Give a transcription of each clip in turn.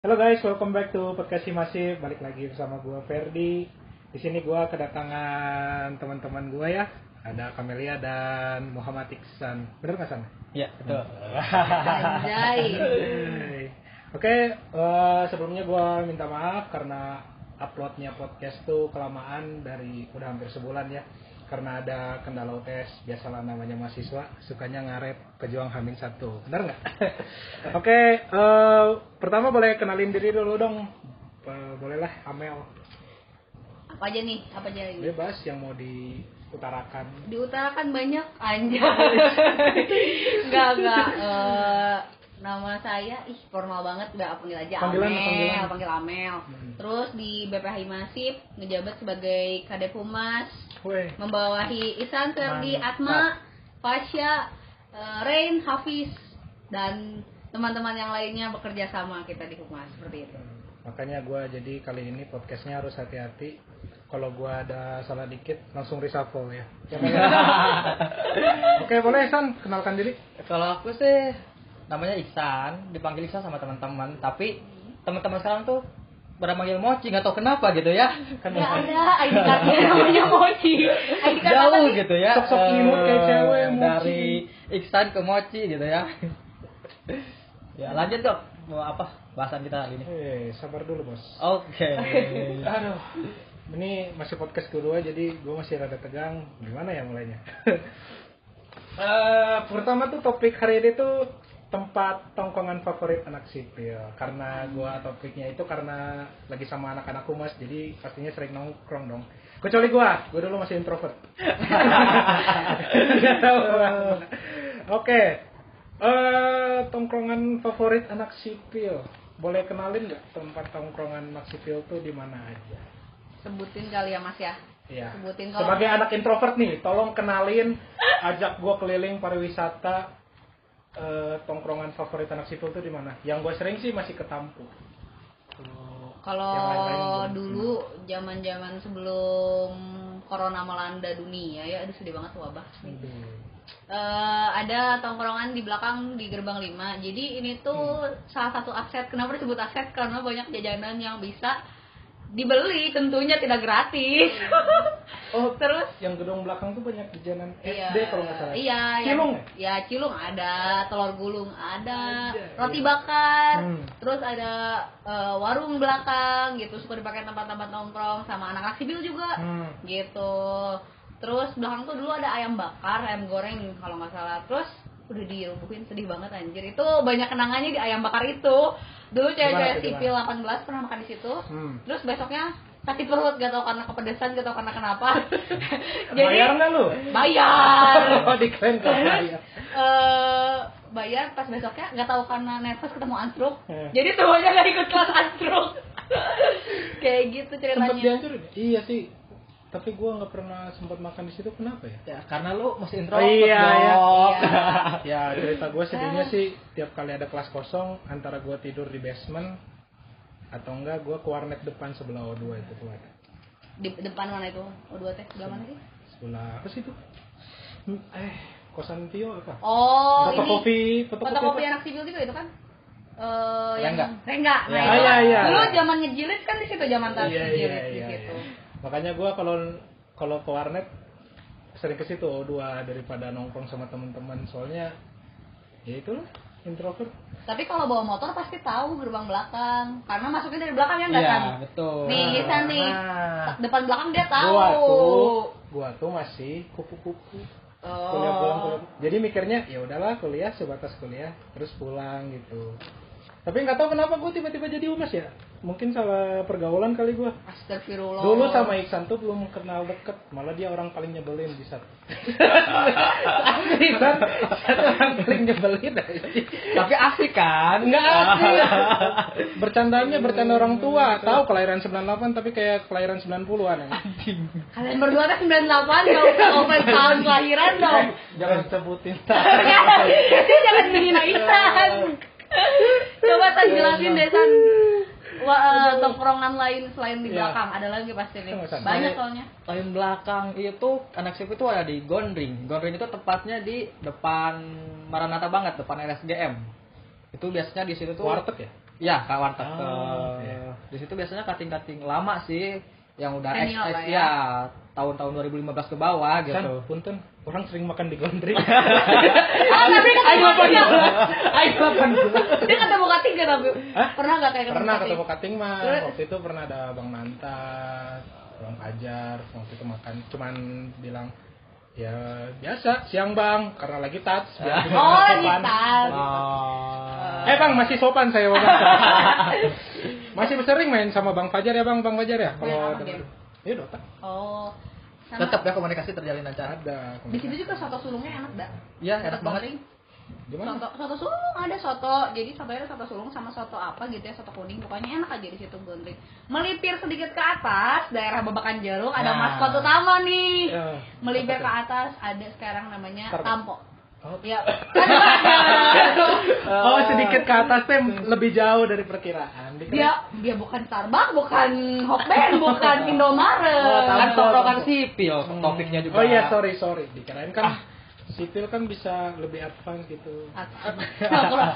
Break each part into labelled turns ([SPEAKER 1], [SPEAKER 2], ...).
[SPEAKER 1] Halo guys, welcome back to podcast si Masih. Balik lagi bersama gua Ferdi. Di sini gua kedatangan teman-teman gua ya. Ada Kamelia dan Muhammad Iksan. Bener nggak San?
[SPEAKER 2] Ya,
[SPEAKER 1] Hmm.
[SPEAKER 2] betul.
[SPEAKER 3] Anjay.
[SPEAKER 1] Hai. Oke, eh, sebelumnya gua minta maaf karena uploadnya podcast tuh kelamaan dari udah hampir sebulan ya. Karena ada kendala UTS, biasalah namanya mahasiswa, sukanya ngaret pejuang Hamin satu. Benar nggak? Oke, eh, pertama boleh kenalin diri dulu dong. Eh, bolehlah, Amel.
[SPEAKER 3] Apa aja nih? Apa aja lagi?
[SPEAKER 1] Bebas yang mau diutarakan.
[SPEAKER 3] Diutarakan banyak anjay. Enggak, enggak. Eh, nama saya ih formal banget udah panggil aja
[SPEAKER 1] Panggilan,
[SPEAKER 3] Amel,
[SPEAKER 1] panggilan.
[SPEAKER 3] panggil Amel.
[SPEAKER 1] Hmm.
[SPEAKER 3] Terus di BPH Masif ngejabat sebagai Kadep Humas,
[SPEAKER 1] Weh,
[SPEAKER 3] membawahi Isan Ferdi
[SPEAKER 1] Mantap.
[SPEAKER 3] Atma, Fasya, eh, Rain, Hafiz dan teman-teman yang lainnya bekerja sama kita di Humas seperti itu.
[SPEAKER 1] Makanya gua jadi kali ini podcastnya harus hati-hati. Kalau gua ada salah dikit, langsung reshuffle ya. Oke boleh San, kenalkan diri.
[SPEAKER 2] Kalau aku sih namanya Iksan, dipanggil Iksan sama teman-teman, tapi teman-teman sekarang tuh pada manggil Mochi, nggak tahu kenapa gitu ya. Kan
[SPEAKER 3] Gak ada ID cardnya namanya Mochi. ID card apa
[SPEAKER 2] jauh
[SPEAKER 3] nih?
[SPEAKER 2] gitu ya.
[SPEAKER 1] Sok-sok
[SPEAKER 2] Eh,
[SPEAKER 1] imut kayak cewek, Mochi.
[SPEAKER 2] Dari Iksan ke Mochi gitu ya. ya lanjut dok, mau apa bahasan kita hari ini?
[SPEAKER 1] Eh sabar dulu bos.
[SPEAKER 2] Oke. Iya,
[SPEAKER 1] Aduh, ini masih podcast kedua jadi gua masih rada tegang. Gimana ya mulainya? Eh, pertama tuh topik hari ini tuh tempat tongkongan favorit anak sipil karena gua topiknya itu karena lagi sama anak-anak humas jadi pastinya sering nongkrong dong kecuali gua gua dulu masih introvert Nggak tahu gua. oke eh tongkrongan favorit anak sipil boleh kenalin nggak tempat tongkrongan anak sipil tuh di mana aja
[SPEAKER 3] Sebutin kali ya Mas ya.
[SPEAKER 1] Iya.
[SPEAKER 3] Sebutin kalau
[SPEAKER 1] Sebagai anak introvert nih, tolong kenalin, ajak gua keliling pariwisata eh, tongkrongan favorit anak sipil tuh di mana? Yang gue sering sih masih ke Tampu. Tuh,
[SPEAKER 3] kalau
[SPEAKER 1] yang lain-lain belum.
[SPEAKER 3] dulu zaman-zaman sebelum corona melanda dunia ya aduh sedih banget wabah nih.
[SPEAKER 1] Aduh.
[SPEAKER 3] Eh, ada tongkrongan di belakang di gerbang 5 jadi ini tuh
[SPEAKER 2] Hmm.
[SPEAKER 3] salah satu aset kenapa disebut aset karena banyak jajanan yang bisa dibeli tentunya tidak gratis
[SPEAKER 2] Hmm.
[SPEAKER 1] Oh,
[SPEAKER 3] terus
[SPEAKER 1] yang gedung belakang tuh banyak jajanan
[SPEAKER 3] Iya,
[SPEAKER 1] SD kalau nggak salah.
[SPEAKER 3] Iya,
[SPEAKER 1] Cilung
[SPEAKER 3] yang- ya? cilung ada, telur gulung ada,
[SPEAKER 1] Ada,
[SPEAKER 3] roti
[SPEAKER 1] iya.
[SPEAKER 3] bakar,
[SPEAKER 1] Hmm.
[SPEAKER 3] terus ada eh, warung belakang gitu, suka dipakai tempat-tempat nongkrong sama anak-anak sipil juga
[SPEAKER 1] Hmm.
[SPEAKER 3] gitu. Terus belakang tuh dulu ada ayam bakar, ayam goreng kalau nggak salah. Terus udah dirubuhin sedih banget anjir. Itu banyak kenangannya di ayam bakar itu. Dulu
[SPEAKER 1] Gimana
[SPEAKER 3] cewek-cewek
[SPEAKER 1] tuh,
[SPEAKER 3] sipil 18 pernah makan di situ.
[SPEAKER 1] Hmm.
[SPEAKER 3] Terus besoknya sakit perut gak tau karena kepedesan gak tau karena kenapa
[SPEAKER 1] Bayar nggak lu?
[SPEAKER 3] bayar
[SPEAKER 1] Oh, diklaim nggak bayar.
[SPEAKER 3] eh bayar pas besoknya nggak tahu karena nervous ketemu antruk
[SPEAKER 1] Eh.
[SPEAKER 3] jadi semuanya nggak ikut kelas antruk kayak gitu
[SPEAKER 1] Sempet
[SPEAKER 3] ceritanya
[SPEAKER 1] dihancurin? Iya sih. Tapi gua nggak pernah sempat makan di situ kenapa ya?
[SPEAKER 2] ya, karena lu masih introvert
[SPEAKER 1] Iya, ya.
[SPEAKER 2] dok.
[SPEAKER 1] ya cerita gue sedihnya
[SPEAKER 3] Ah.
[SPEAKER 1] sih tiap kali ada kelas kosong antara gue tidur di basement atau enggak gue ke warnet depan sebelah O2 itu keluar
[SPEAKER 3] di depan mana itu oh dua teh sebelah mana sih
[SPEAKER 1] sebelah apa sih itu Hmm, eh kosan Tio apa
[SPEAKER 3] oh
[SPEAKER 1] Foto
[SPEAKER 3] ini
[SPEAKER 1] kopi foto
[SPEAKER 3] foto kopi
[SPEAKER 1] kopi apa?
[SPEAKER 3] anak sipil juga itu kan Eh yang
[SPEAKER 2] Rengga.
[SPEAKER 3] Rengga. Nah,
[SPEAKER 1] Ya.
[SPEAKER 3] itu
[SPEAKER 1] Ah, iya, iya.
[SPEAKER 3] Dulu zaman ngejilid kan di situ zaman tas gitu.
[SPEAKER 1] iya iya
[SPEAKER 3] ngejilid
[SPEAKER 1] iya
[SPEAKER 3] di situ.
[SPEAKER 1] iya. makanya gue kalau kalau ke warnet sering ke situ O2 daripada nongkrong sama teman-teman soalnya ya itulah introvert
[SPEAKER 3] Tapi kalau bawa motor pasti tahu gerbang belakang karena masuknya dari belakang ya enggak
[SPEAKER 2] Iya,
[SPEAKER 3] kan?
[SPEAKER 2] betul.
[SPEAKER 3] Nih, Isan nih.
[SPEAKER 1] Nah.
[SPEAKER 3] Depan belakang dia tahu.
[SPEAKER 1] gua tuh gua tuh masih kupu-kupu
[SPEAKER 3] Oh.
[SPEAKER 1] kuliah pulang pulang. jadi mikirnya ya udahlah kuliah sebatas kuliah terus pulang gitu tapi nggak tahu kenapa gue tiba-tiba jadi humas ya mungkin salah pergaulan kali gua
[SPEAKER 3] Astagfirullah.
[SPEAKER 1] dulu sama Iksan tuh belum kenal deket malah dia orang paling nyebelin di saat Iksan orang paling nyebelin aja.
[SPEAKER 2] Tapi asik kan?
[SPEAKER 1] Enggak asli. Bercandanya bercanda orang tua. Tahu kelahiran 98 tapi kayak kelahiran 90-an ya.
[SPEAKER 3] Kalian berdua kan 98 nggak usah open tahun kelahiran dong.
[SPEAKER 1] Jangan sebutin. Iya,
[SPEAKER 3] Dia jangan menghina Iksan. Coba San jelasin deh San. Wah, eh, tongkrongan lain selain di
[SPEAKER 1] Iya.
[SPEAKER 3] belakang ada lagi pasti nih.
[SPEAKER 1] Tunggu, San.
[SPEAKER 3] Banyak soalnya.
[SPEAKER 2] Lain belakang itu anak sip itu ada di Gondring. Gondring itu tepatnya di depan Maranatha banget, depan RSGM. Itu biasanya di situ tuh
[SPEAKER 1] Warteg ya?
[SPEAKER 2] Iya, Kak Warteg.
[SPEAKER 1] Ah,
[SPEAKER 2] Eh,
[SPEAKER 1] iya.
[SPEAKER 2] Di situ biasanya kating-kating lama sih yang udah ex
[SPEAKER 3] Senior
[SPEAKER 2] ex
[SPEAKER 3] lah ya.
[SPEAKER 2] ya tahun-tahun 2015 ke bawah
[SPEAKER 1] San,
[SPEAKER 2] gitu.
[SPEAKER 1] punten, orang sering makan di gondri.
[SPEAKER 3] Ah, tapi ketemu tiga.
[SPEAKER 2] Ayo kapan
[SPEAKER 3] Dia ketemu Kak tiga tapi.
[SPEAKER 1] Hah?
[SPEAKER 3] Pernah nggak kayak ketemu
[SPEAKER 1] pernah
[SPEAKER 3] Kak
[SPEAKER 1] ketemu
[SPEAKER 3] tiga?
[SPEAKER 1] kating mah.
[SPEAKER 3] Terus?
[SPEAKER 1] Waktu itu pernah ada Bang Manta, Bang Fajar, waktu itu makan cuman bilang ya biasa siang bang karena lagi touch biar gimana
[SPEAKER 3] Oh, lagi
[SPEAKER 1] sopan. Gitu.
[SPEAKER 3] tas.
[SPEAKER 1] Eh bang masih sopan saya bang. masih sering main sama bang Fajar ya bang bang Fajar ya.
[SPEAKER 3] Main apa
[SPEAKER 1] ada-
[SPEAKER 3] game?
[SPEAKER 1] Iya Dota.
[SPEAKER 3] Oh. Sama.
[SPEAKER 2] Tetap ya komunikasi terjalin lancar.
[SPEAKER 1] Ada.
[SPEAKER 3] Di situ juga soto sulungnya enak dah.
[SPEAKER 2] Iya, enak banget.
[SPEAKER 1] Gimana?
[SPEAKER 3] Soto, soto sulung ada soto, jadi sotonya ada soto sulung sama soto apa gitu ya, soto kuning. Pokoknya enak aja di situ gondring. Melipir sedikit ke atas, daerah babakan jarum ada
[SPEAKER 2] Nah.
[SPEAKER 3] maskot utama nih.
[SPEAKER 1] Ya, apa
[SPEAKER 3] Melipir ke
[SPEAKER 1] tuh?
[SPEAKER 3] atas ada sekarang namanya
[SPEAKER 1] Starbucks.
[SPEAKER 3] Tampo.
[SPEAKER 1] Oh.
[SPEAKER 3] Ya. Starbucks.
[SPEAKER 1] Oh sedikit ke atas teh lebih jauh dari perkiraan. Dikira-
[SPEAKER 3] hmm. dia dia bukan Starbucks, bukan Hokben, bukan Indomaret.
[SPEAKER 1] Oh, tahu.
[SPEAKER 2] Kan
[SPEAKER 1] Tampol,
[SPEAKER 2] tongkrongan
[SPEAKER 1] tampol.
[SPEAKER 2] sipil
[SPEAKER 3] Hmm.
[SPEAKER 2] topiknya juga. Ah.
[SPEAKER 1] Oh iya sorry sorry. Dikirain kan sipil kan bisa lebih advance gitu.
[SPEAKER 3] Kalau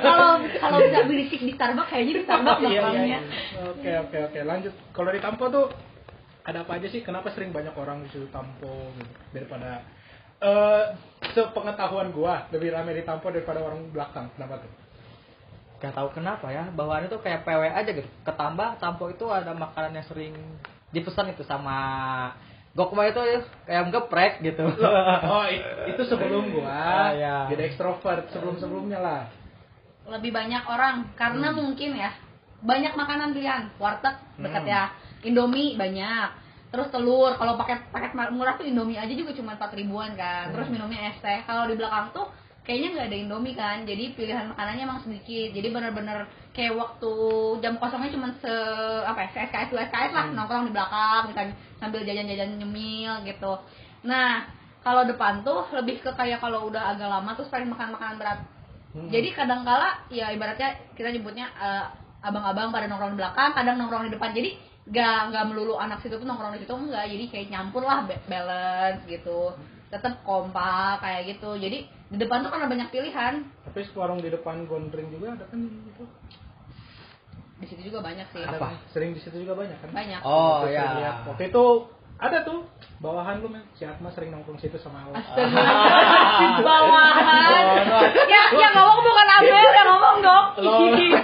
[SPEAKER 3] kalau kalau bisa berisik di Starbucks kayaknya di Starbucks
[SPEAKER 1] Iya, iya,
[SPEAKER 3] makannya.
[SPEAKER 1] iya. Oke oke oke lanjut. Kalau di Tampo tuh ada apa aja sih? Kenapa sering banyak orang di situ Tampo gitu? daripada eh sepengetahuan gua lebih rame di Tampo daripada orang belakang. Kenapa tuh?
[SPEAKER 2] Gak tahu kenapa ya, bawaannya tuh kayak PW aja gitu. Ketambah tampo itu ada makanan yang sering dipesan itu sama Gokma itu ya, kayak geprek gitu.
[SPEAKER 1] Oh i- itu sebelum gua
[SPEAKER 2] Ah, iya.
[SPEAKER 1] jadi ekstrovert sebelum sebelumnya lah.
[SPEAKER 3] Lebih banyak orang karena mungkin ya banyak makanan pilihan. Warteg dekat ya. Indomie banyak. Terus telur, kalau paket paket ma- murah tuh Indomie aja juga cuma 4 ribuan kan. Terus minumnya es teh. Kalau di belakang tuh kayaknya nggak ada Indomie kan. Jadi pilihan makanannya emang sedikit. Jadi bener-bener kayak waktu jam kosongnya cuma se apa ya, se SKS dua SKS lah nongkrong di belakang misalnya sambil jajan-jajan nyemil gitu. Nah, kalau depan tuh lebih ke kayak kalau udah agak lama terus pengen makan makanan berat.
[SPEAKER 1] Hmm.
[SPEAKER 3] Jadi kadangkala ya ibaratnya kita nyebutnya eh, abang-abang pada nongkrong di belakang, kadang nongkrong di depan. Jadi gak nggak melulu anak situ tuh nongkrong di situ enggak. Jadi kayak nyampur lah ba- balance gitu. Tetap kompak kayak gitu. Jadi di depan tuh karena banyak pilihan.
[SPEAKER 1] Tapi warung di depan Gondring juga ada kan gitu.
[SPEAKER 3] Di situ juga banyak sih.
[SPEAKER 1] Ada
[SPEAKER 2] Apa?
[SPEAKER 1] kan? Sering di situ juga banyak kan?
[SPEAKER 3] Banyak. ya.
[SPEAKER 2] Oh
[SPEAKER 1] Waktu saya lihat.
[SPEAKER 2] iya.
[SPEAKER 1] Waktu itu ada tuh bawahan lu men, si Atma sering nongkrong situ sama awal.
[SPEAKER 3] Astagfirullahaladzim bawahan. ya, yang ngomong bukan Abel, yang ngomong dong. Gitu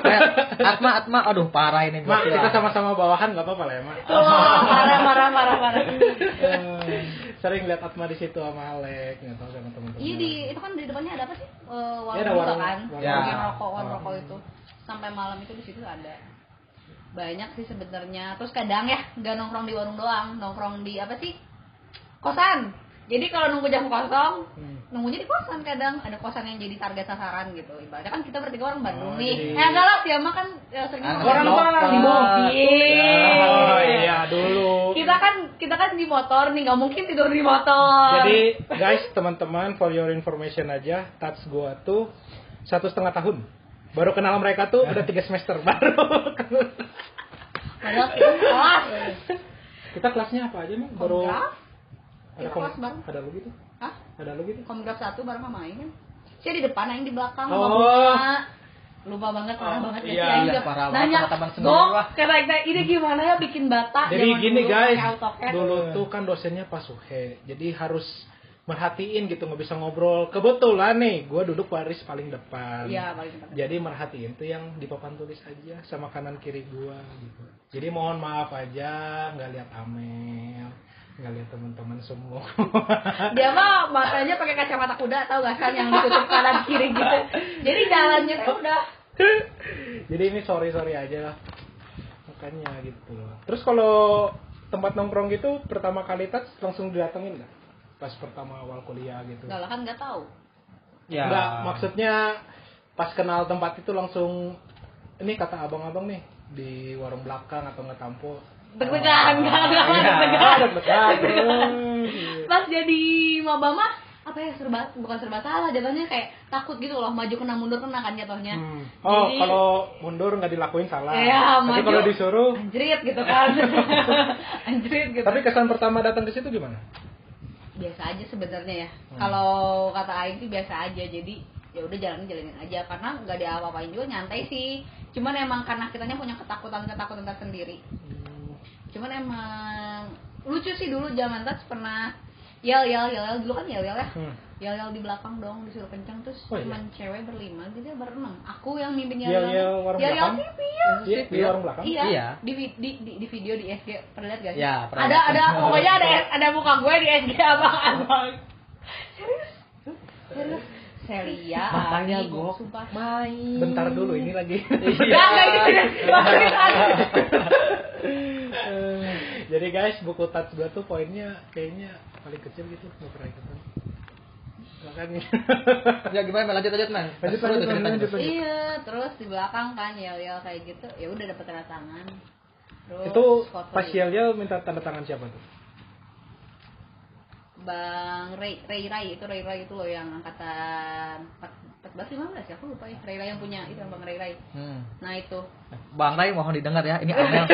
[SPEAKER 2] Atma Atma aduh parah ini
[SPEAKER 1] Mak,
[SPEAKER 2] gokil.
[SPEAKER 1] kita sama-sama bawahan nggak apa-apa lah ya, Mak.
[SPEAKER 3] Wah, marah marah marah marah.
[SPEAKER 1] Eh, sering lihat Atma di situ sama Alek, nggak tahu sama teman-teman.
[SPEAKER 3] Iya di itu kan di depannya ada apa sih? Eh, warung
[SPEAKER 1] Iya, ada
[SPEAKER 3] juga
[SPEAKER 1] warung-
[SPEAKER 3] kan.
[SPEAKER 1] warung.
[SPEAKER 3] Yang
[SPEAKER 2] Ya.
[SPEAKER 3] rokok, warung rokok itu. Sampai malam itu di situ ada. Banyak sih sebenarnya. Terus kadang ya nggak nongkrong di warung doang, nongkrong di apa sih? Kosan. Jadi kalau nunggu jam kosong,
[SPEAKER 1] Hmm.
[SPEAKER 3] nunggunya di kosan kadang ada kosan yang jadi target sasaran gitu. Ibaratnya kan kita bertiga orang
[SPEAKER 1] Oh,
[SPEAKER 3] Bandung nih.
[SPEAKER 1] jadi-
[SPEAKER 3] Eh enggak lah, Siama kan ya, sering
[SPEAKER 2] Anak
[SPEAKER 1] Orang
[SPEAKER 2] dokter.
[SPEAKER 1] Malang di Oh
[SPEAKER 3] Iya.
[SPEAKER 1] Ya, iya dulu.
[SPEAKER 3] Kita kan kita kan di motor nih, nggak mungkin tidur di motor.
[SPEAKER 1] Jadi guys, teman-teman, for your information aja, touch gua tuh satu setengah tahun. Baru kenal mereka tuh udah tiga semester baru.
[SPEAKER 3] padahal kita kelas.
[SPEAKER 1] kita kelasnya apa aja nih? Baru ada
[SPEAKER 3] Kontrak. Kita
[SPEAKER 1] kom-
[SPEAKER 3] Iya, kelas bareng.
[SPEAKER 1] ada lu gitu,
[SPEAKER 3] Hah?
[SPEAKER 1] ada lu gitu.
[SPEAKER 3] Komgraf satu bareng sama Aing kan. Saya di depan Aing di belakang sama
[SPEAKER 1] Oh.
[SPEAKER 3] Bunga. Lupa banget, parah
[SPEAKER 1] Oh,
[SPEAKER 3] banget ya
[SPEAKER 1] iya,
[SPEAKER 3] si Aing
[SPEAKER 2] iya,
[SPEAKER 3] tuh.
[SPEAKER 2] parah banget,
[SPEAKER 3] Nanya,
[SPEAKER 2] teman-teman semua.
[SPEAKER 3] Gok, kata Aing teh, ini gimana ya bikin bata
[SPEAKER 1] Hmm. Jadi
[SPEAKER 3] zaman
[SPEAKER 1] gini
[SPEAKER 3] dulu
[SPEAKER 1] guys,
[SPEAKER 3] pakai AutoCAD."
[SPEAKER 1] dulu tuh kan dosennya Pak Suhe, jadi harus merhatiin gitu nggak bisa ngobrol. Kebetulan nih, gue duduk baris paling depan.
[SPEAKER 3] Iya, paling depan.
[SPEAKER 1] Jadi merhatiin tuh yang di papan tulis aja sama kanan kiri gue gitu. Jadi mohon maaf aja nggak lihat Amel, nggak lihat teman-teman semua.
[SPEAKER 3] Dia mah matanya pakai kacamata kuda tau gak kan yang ditutup kanan kiri gitu. Jadi jalannya tuh udah
[SPEAKER 1] jadi ini sorry sorry aja lah. makanya gitu terus kalau tempat nongkrong gitu pertama kali tats langsung didatengin nggak pas pertama awal kuliah gitu
[SPEAKER 3] Enggak lah kan nggak tahu.
[SPEAKER 2] Ya.
[SPEAKER 1] Nggak, maksudnya pas kenal tempat itu langsung ini kata abang-abang nih di warung belakang atau Ah, nggak tampo Oh.
[SPEAKER 3] Deg-degan, enggak enggak
[SPEAKER 2] iya.
[SPEAKER 3] deg-degan.
[SPEAKER 1] ada pesan
[SPEAKER 3] Pas jadi maba mah apa ya serba bukan serba salah jatuhnya kayak takut gitu loh maju kena mundur kena kan jatuhnya.
[SPEAKER 1] Hmm. Oh,
[SPEAKER 3] Jadi-
[SPEAKER 1] kalau mundur nggak dilakuin salah.
[SPEAKER 3] Iya,
[SPEAKER 1] tapi
[SPEAKER 3] maju.
[SPEAKER 1] kalau disuruh,
[SPEAKER 3] Anjrit gitu kan. Anjrit gitu.
[SPEAKER 1] tapi kesan pertama datang ke situ gimana?
[SPEAKER 3] biasa aja sebenarnya ya.
[SPEAKER 1] Hmm.
[SPEAKER 3] Kalau kata Aing sih biasa aja. Jadi ya udah jalanin jalanin aja karena nggak ada apa-apain juga nyantai sih. Cuman emang karena kitanya punya ketakutan-ketakutan tersendiri. Cuman emang lucu sih dulu zaman tas pernah yel yel yel yel dulu kan yel yel ya.
[SPEAKER 1] Hmm.
[SPEAKER 3] Yel yel di belakang dong disuruh kencang terus
[SPEAKER 1] Oh, iya.
[SPEAKER 3] cuman cewek berlima gitu ya berenam. Aku yang mimpin yel
[SPEAKER 1] Yel-yel warung
[SPEAKER 3] Yel yel
[SPEAKER 1] belakang?
[SPEAKER 3] sih iya.
[SPEAKER 1] Iya, di warung belakang.
[SPEAKER 3] Iya,
[SPEAKER 2] Iya.
[SPEAKER 3] Di, vi- di, di, di video di SG pernah lihat gak sih?
[SPEAKER 2] Iya, pernah.
[SPEAKER 3] ada ada pokoknya ada ada muka gue di SG abang-abang. Serius? Serius? Seria.
[SPEAKER 2] Makanya
[SPEAKER 3] Abi,
[SPEAKER 2] gue
[SPEAKER 3] sumpah.
[SPEAKER 1] Iya.
[SPEAKER 2] main.
[SPEAKER 1] Bentar dulu, ini lagi.
[SPEAKER 3] Enggak, enggak itu.
[SPEAKER 1] Iya,
[SPEAKER 3] Maksudnya,
[SPEAKER 1] Eh, Jadi guys, buku touch gua tuh poinnya kayaknya paling kecil gitu, nggak pernah ikutan. Makanya.
[SPEAKER 2] Ya gimana men? lanjut lanjut men.
[SPEAKER 1] Lanjut,
[SPEAKER 2] Seru
[SPEAKER 1] lanjut,
[SPEAKER 2] tuh ceritanya
[SPEAKER 1] lanjut,
[SPEAKER 2] tuh.
[SPEAKER 1] lanjut.
[SPEAKER 3] Iya, terus di belakang kan yel-yel kayak gitu. Ya udah dapet tanda tangan. Terus
[SPEAKER 1] itu
[SPEAKER 3] foto
[SPEAKER 1] pas
[SPEAKER 3] di-
[SPEAKER 1] yel minta tanda tangan siapa tuh?
[SPEAKER 3] Bang Ray, Ray Ray itu Ray Ray itu loh yang angkatan 14 15 ya aku lupa ya. Ray Ray yang punya itu Bang Ray Ray.
[SPEAKER 2] Hmm.
[SPEAKER 3] Nah, itu.
[SPEAKER 2] Bang Rai mohon didengar ya, ini Amel.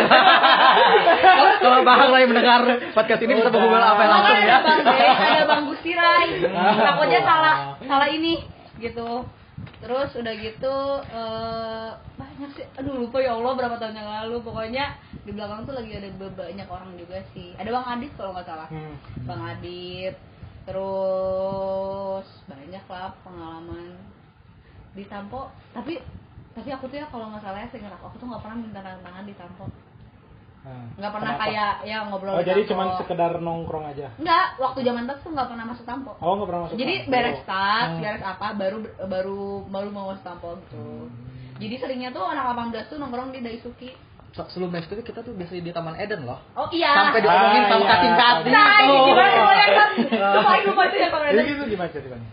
[SPEAKER 2] Kalau Bang Rai mendengar podcast ini bisa menghubungi Amel langsung ya.
[SPEAKER 3] Makanya ada Bang Ray, ada Bang Gusti Ray.
[SPEAKER 1] Iya.
[SPEAKER 3] Takutnya salah, salah ini gitu. Terus udah gitu eh, banyak sih. Aduh lupa ya Allah berapa tahun yang lalu. Pokoknya di belakang tuh lagi ada be- banyak orang juga sih. Ada Bang Adit kalau nggak salah.
[SPEAKER 1] Hmm.
[SPEAKER 3] Bang Adit. Terus banyak lah pengalaman di Tampo. Tapi tapi aku tuh ya kalau nggak salah ya seingat aku, aku tuh nggak pernah minta tanda tangan di Tampo.
[SPEAKER 1] Nah,
[SPEAKER 3] Nggak pernah
[SPEAKER 1] kenapa?
[SPEAKER 3] kayak ya ngobrol
[SPEAKER 1] Oh,
[SPEAKER 3] di
[SPEAKER 1] jadi
[SPEAKER 3] Tampo.
[SPEAKER 1] cuman sekedar nongkrong aja.
[SPEAKER 3] Enggak, waktu zaman tas tuh nggak pernah masuk tampo.
[SPEAKER 1] Oh, nggak pernah masuk.
[SPEAKER 3] Jadi
[SPEAKER 1] kampus.
[SPEAKER 3] beres tas,
[SPEAKER 1] Hmm.
[SPEAKER 3] beres apa, baru baru baru mau masuk tampo
[SPEAKER 1] Hmm.
[SPEAKER 3] gitu. Jadi seringnya tuh anak 18 tuh nongkrong di Daisuki.
[SPEAKER 2] Se- Sebelum match itu kita tuh biasanya di Taman Eden loh.
[SPEAKER 3] Oh iya.
[SPEAKER 2] Sampai diomongin sama
[SPEAKER 1] Ah, iya.
[SPEAKER 2] kating-kating.
[SPEAKER 3] Nah, ini
[SPEAKER 2] tuh.
[SPEAKER 3] gimana kalau yang kan? Lupa itu pasti yang
[SPEAKER 1] Oh. Ah. Jadi
[SPEAKER 3] kemarin.
[SPEAKER 1] itu gimana ceritanya?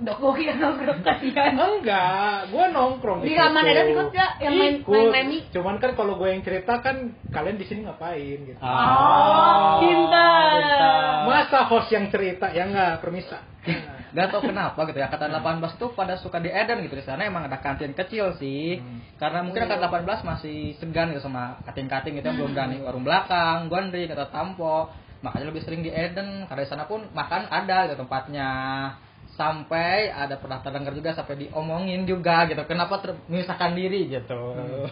[SPEAKER 3] Dok, gue kira nongkrong kan, iya. kasihan.
[SPEAKER 1] Enggak, gue nongkrong situ.
[SPEAKER 3] Di Raman Edan ikut nggak? Yang main-
[SPEAKER 1] Ikut.
[SPEAKER 3] main remi?
[SPEAKER 1] Cuman kan kalau gue yang cerita kan kalian di sini ngapain gitu.
[SPEAKER 2] Ah.
[SPEAKER 3] Oh, cinta.
[SPEAKER 2] cinta.
[SPEAKER 1] Masa host yang cerita ya enggak permisa.
[SPEAKER 2] Gak tau kenapa gitu ya, angkatan 18 tuh pada suka di Eden gitu di sana emang ada kantin kecil sih.
[SPEAKER 1] Hmm.
[SPEAKER 2] Karena mungkin angkatan 18 masih segan gitu sama kating-kating gitu yang belum
[SPEAKER 1] Hmm.
[SPEAKER 2] berani ke warung belakang, gondri kata tampo. Makanya lebih sering di Eden karena di sana pun makan ada gitu tempatnya. Sampai ada pernah terdengar juga sampai diomongin juga gitu. Kenapa ter- memisahkan diri gitu.
[SPEAKER 1] Hmm.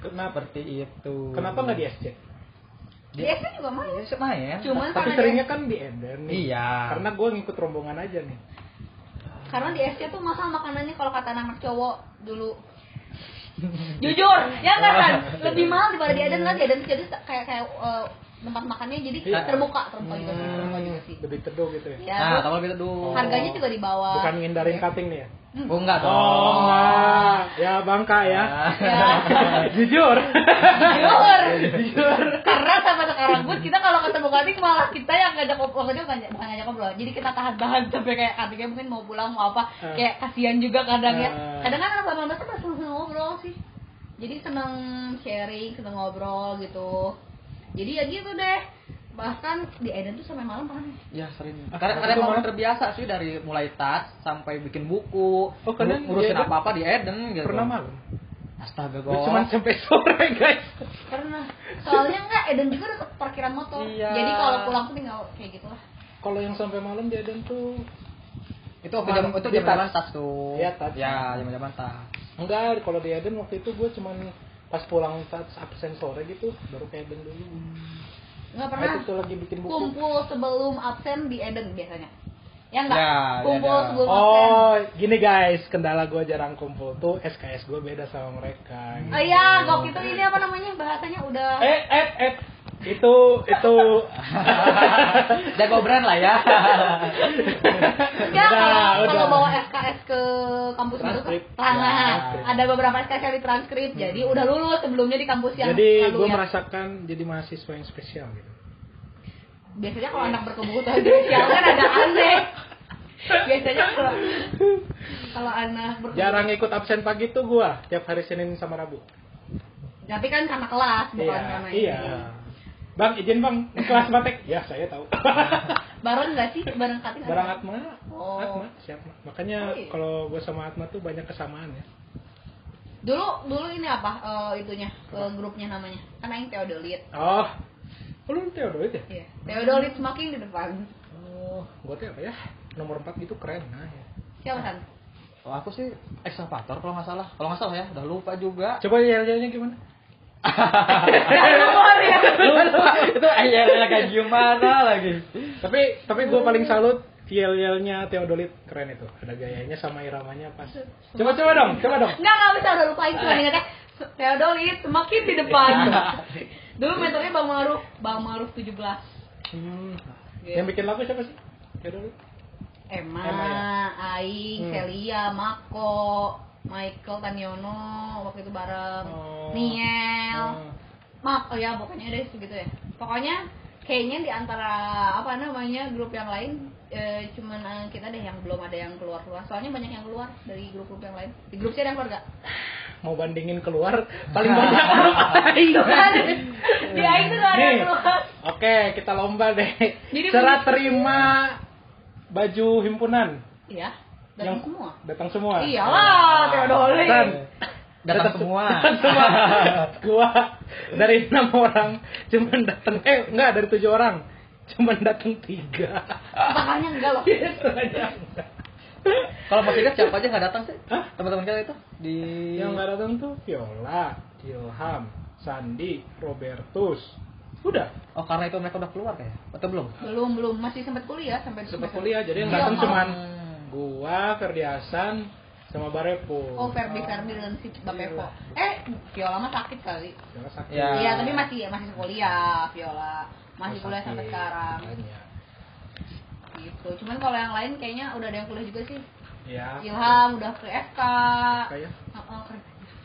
[SPEAKER 1] Kenapa?
[SPEAKER 2] Seperti itu.
[SPEAKER 1] Kenapa nggak di SC?
[SPEAKER 3] Di SD juga main.
[SPEAKER 2] Iya, sih, main.
[SPEAKER 3] Cuman
[SPEAKER 1] Tapi
[SPEAKER 3] karena
[SPEAKER 1] seringnya kan di Ender nih.
[SPEAKER 2] Iya.
[SPEAKER 1] Karena gue ngikut rombongan aja nih.
[SPEAKER 3] karena di SD tuh mahal makanannya kalau kata anak cowok dulu jujur ya nggak kan lebih mahal daripada di Eden kan di Eden tuh jadi kayak kayak eh, tempat makannya jadi
[SPEAKER 1] Iya. Hmm.
[SPEAKER 3] terbuka terbuka juga sih, terbuka juga sih
[SPEAKER 1] Lebih teduh gitu ya.
[SPEAKER 3] ya
[SPEAKER 2] Nah,
[SPEAKER 3] terus
[SPEAKER 2] tahu lebih teduh.
[SPEAKER 3] harganya juga di bawah
[SPEAKER 1] Bukan ngindarin cutting nih ya.
[SPEAKER 2] Oh, enggak dong.
[SPEAKER 1] Oh, enggak. ya bangka ya.
[SPEAKER 3] ya
[SPEAKER 1] Jujur.
[SPEAKER 3] jujur karena sampai sekarang pun kita kalau ketemu kating malah kita yang ngajak ngobrol bukan bukan ngajak ngobrol jadi kita tahan tahan sampai kayak katingnya mungkin mau pulang mau apa
[SPEAKER 1] Eh.
[SPEAKER 3] kayak kasihan juga kadang ya
[SPEAKER 1] Eh.
[SPEAKER 3] kadang kan anak sama tuh masih seneng ngobrol sih jadi seneng sharing seneng ngobrol gitu jadi ya gitu deh bahkan di Eden tuh sampai malam panas
[SPEAKER 2] Ya sering.
[SPEAKER 1] Ah, tapi
[SPEAKER 2] Karena karena
[SPEAKER 1] itu
[SPEAKER 2] emang
[SPEAKER 1] malah-
[SPEAKER 2] terbiasa sih dari mulai tas sampai bikin buku,
[SPEAKER 1] Oh, kalian
[SPEAKER 2] ngur-
[SPEAKER 1] di
[SPEAKER 2] ngurusin
[SPEAKER 1] Eden?
[SPEAKER 2] apa-apa di Eden gitu.
[SPEAKER 1] Pernah malam.
[SPEAKER 2] Astaga
[SPEAKER 1] Gue
[SPEAKER 2] gua.
[SPEAKER 1] cuman sampai sore guys.
[SPEAKER 3] karena soalnya enggak Eden juga ada parkiran motor
[SPEAKER 2] Iya.
[SPEAKER 3] jadi kalau pulang tuh tinggal kayak gitu lah
[SPEAKER 1] Kalau yang sampai malam di Eden tuh
[SPEAKER 2] itu zaman
[SPEAKER 1] Di-
[SPEAKER 2] itu
[SPEAKER 1] di
[SPEAKER 2] zaman-zaman
[SPEAKER 1] tas.
[SPEAKER 2] tas tuh.
[SPEAKER 1] Iya, tas.
[SPEAKER 2] Ya, zaman-zaman tas.
[SPEAKER 1] enggak kalau di Eden waktu itu gue cuman pas pulang saat absen sore gitu baru ke Eden dulu Nah,
[SPEAKER 3] nggak pernah
[SPEAKER 1] itu tuh lagi bikin buku
[SPEAKER 3] kumpul sebelum absen di Eden biasanya ya enggak
[SPEAKER 2] Ya,
[SPEAKER 3] kumpul
[SPEAKER 2] ya, ya.
[SPEAKER 3] sebelum absen
[SPEAKER 1] oh gini guys kendala gue jarang kumpul tuh SKS gue beda sama mereka gitu.
[SPEAKER 3] oh iya gok itu ini apa namanya bahasanya udah
[SPEAKER 1] eh eh eh itu itu
[SPEAKER 2] Jago brand lah ya.
[SPEAKER 3] enggak kalau
[SPEAKER 1] Oh,
[SPEAKER 3] kalau
[SPEAKER 1] jawaban.
[SPEAKER 3] bawa SKS ke kampus baru kan?
[SPEAKER 1] Transkrip.
[SPEAKER 2] Ya,
[SPEAKER 3] Nah,
[SPEAKER 1] transkrip. Hmm.
[SPEAKER 3] ada beberapa SKS yang ditranskrip, jadi udah lulus sebelumnya di kampus yang
[SPEAKER 1] jadi
[SPEAKER 3] lalu
[SPEAKER 1] gue
[SPEAKER 3] ya.
[SPEAKER 1] merasakan jadi mahasiswa yang spesial gitu.
[SPEAKER 3] Biasanya kalau anak berkebutuhan spesial kan ada aneh. Biasanya kalau kalau anak berkebutuhan
[SPEAKER 1] Jarang ikut absen pagi tuh gua tiap hari Senin sama Rabu.
[SPEAKER 3] tapi kan karena kelas bukan karena ini.
[SPEAKER 1] iya. Bang, izin bang, kelas batek. Ya, saya tahu.
[SPEAKER 3] Bareng nggak sih bareng katin?
[SPEAKER 1] Barang Atma.
[SPEAKER 3] Oh.
[SPEAKER 1] Atma, siap. Ma. Makanya
[SPEAKER 3] Oh, iya.
[SPEAKER 1] kalau gue sama Atma tuh banyak kesamaan ya.
[SPEAKER 3] Dulu dulu ini apa eh, itunya eh, grupnya namanya? Kan aing Theodolit.
[SPEAKER 1] Oh. Oh, lu Theodoid ya?
[SPEAKER 3] Iya. Theodolit semakin di depan.
[SPEAKER 1] Oh, gue tuh apa ya? Nomor 4 gitu keren. Nah, ya.
[SPEAKER 3] Siapa kan?
[SPEAKER 2] Oh, aku sih ekskavator kalau nggak salah. Kalau nggak salah ya, udah lupa juga.
[SPEAKER 1] Coba yel-yelnya gimana? iya.
[SPEAKER 2] lupa itu ayahnya kayak gimana lagi.
[SPEAKER 1] Tapi tapi gue paling salut yel-yelnya Theodolit keren itu. Ada gayanya sama iramanya pas. Coba coba dong, coba dong. Eh.
[SPEAKER 3] Enggak, enggak bisa udah lupain cuma ingatnya kan? Theodolit semakin di depan. Dulu mentornya Bang Maruf, Bang Maruf 17.
[SPEAKER 1] Hmm.
[SPEAKER 3] Iya.
[SPEAKER 1] Yang bikin lagu siapa sih? Theodolit.
[SPEAKER 3] Emma,
[SPEAKER 1] Emma ya?
[SPEAKER 3] Aing,
[SPEAKER 1] Hmm.
[SPEAKER 3] Celia, Mako, Michael Taniono waktu itu bareng,
[SPEAKER 1] Oh.
[SPEAKER 3] Niel,
[SPEAKER 1] Oh.
[SPEAKER 3] Mak, oh ya pokoknya deh segitu ya. Pokoknya kayaknya di antara apa namanya grup yang lain eh, cuman eh, kita deh yang belum ada yang keluar keluar. Soalnya banyak yang keluar dari grup-grup yang lain. Di grup saya ada yang keluar gak?
[SPEAKER 1] mau bandingin keluar paling banyak grup Aing.
[SPEAKER 2] Iya.
[SPEAKER 3] di Aing tuh gak ada yang
[SPEAKER 1] Nih,
[SPEAKER 3] keluar.
[SPEAKER 1] Oke, kita lomba deh.
[SPEAKER 3] Jadi
[SPEAKER 1] Serah
[SPEAKER 3] punya-
[SPEAKER 1] terima baju himpunan.
[SPEAKER 3] Iya, datang semua.
[SPEAKER 1] Datang semua. Ah.
[SPEAKER 3] Iyalah, Theodolit.
[SPEAKER 1] Dan
[SPEAKER 2] Datang semua.
[SPEAKER 1] datang semua. Gua dari enam orang cuman datang eh enggak dari tujuh orang cuman datang tiga.
[SPEAKER 3] Makanya enggak loh.
[SPEAKER 2] Kalau masih ingat siapa aja nggak datang sih?
[SPEAKER 1] Hah?
[SPEAKER 2] Teman-teman kita itu di
[SPEAKER 1] Yang nggak datang tuh Viola, Ilham, Sandi, Robertus. Udah,
[SPEAKER 2] Oh, karena itu mereka udah keluar kayak. ya? Atau belum?
[SPEAKER 3] Belum, belum. Masih sempat kuliah sampai
[SPEAKER 1] sempat kuliah jadi yang
[SPEAKER 3] Iya,
[SPEAKER 1] datang
[SPEAKER 3] Mam.
[SPEAKER 1] cuman gua, Ferdi Hasan, sama Barepo.
[SPEAKER 3] Oh, Ferdi Ferdi dan si
[SPEAKER 1] Iya.
[SPEAKER 3] Bapepo. Eh, Viola mah sakit kali.
[SPEAKER 1] Jangan sakit.
[SPEAKER 2] Ya.
[SPEAKER 3] Iya, tapi masih masih kuliah Viola.
[SPEAKER 1] Oh,
[SPEAKER 3] Masih
[SPEAKER 1] Sakit.
[SPEAKER 3] kuliah sampai sekarang.
[SPEAKER 1] Makanya.
[SPEAKER 3] Gitu. Cuman kalau yang lain kayaknya udah ada yang kuliah juga sih.
[SPEAKER 1] Ya.
[SPEAKER 3] Ilham udah ke FK.
[SPEAKER 1] Kayak.
[SPEAKER 3] Heeh, keren.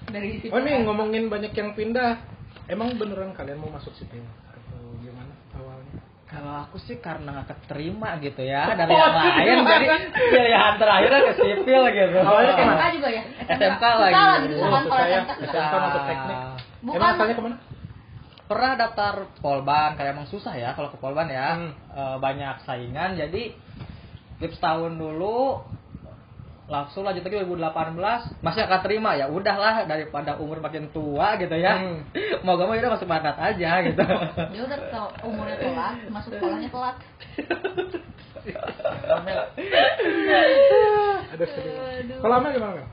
[SPEAKER 3] Dari situ.
[SPEAKER 1] Oh nih ngomongin banyak yang pindah. Emang beneran kalian mau masuk sipil atau gimana awalnya?
[SPEAKER 2] Kalau aku sih karena nggak keterima gitu ya dari
[SPEAKER 1] Oh,
[SPEAKER 2] yang
[SPEAKER 1] iya,
[SPEAKER 2] lain jadi iya, pilihan terakhirnya ke sipil gitu.
[SPEAKER 1] Awalnya kayak
[SPEAKER 3] SMK juga ya?
[SPEAKER 2] SMK
[SPEAKER 3] Susah
[SPEAKER 2] lagi.
[SPEAKER 3] lagi. Susah kan
[SPEAKER 1] Maksud
[SPEAKER 3] kalau
[SPEAKER 1] saya,
[SPEAKER 3] SMK susah.
[SPEAKER 1] SMK masuk teknik.
[SPEAKER 3] Bukan.
[SPEAKER 1] Emang asalnya kemana?
[SPEAKER 2] pernah daftar polban kayak emang susah ya kalau ke polban ya
[SPEAKER 1] Hmm.
[SPEAKER 2] E, banyak saingan jadi lip setahun dulu langsung lanjut lagi 2018 masih akan terima ya udahlah daripada umur makin tua gitu ya
[SPEAKER 1] Hmm.
[SPEAKER 2] mau gak mau ya udah masuk mandat aja gitu
[SPEAKER 3] Dia udah tau umurnya telat, masuk sekolahnya telat.
[SPEAKER 1] Ada serius.
[SPEAKER 3] Aduh.
[SPEAKER 1] Kalau Amel gimana? Amel?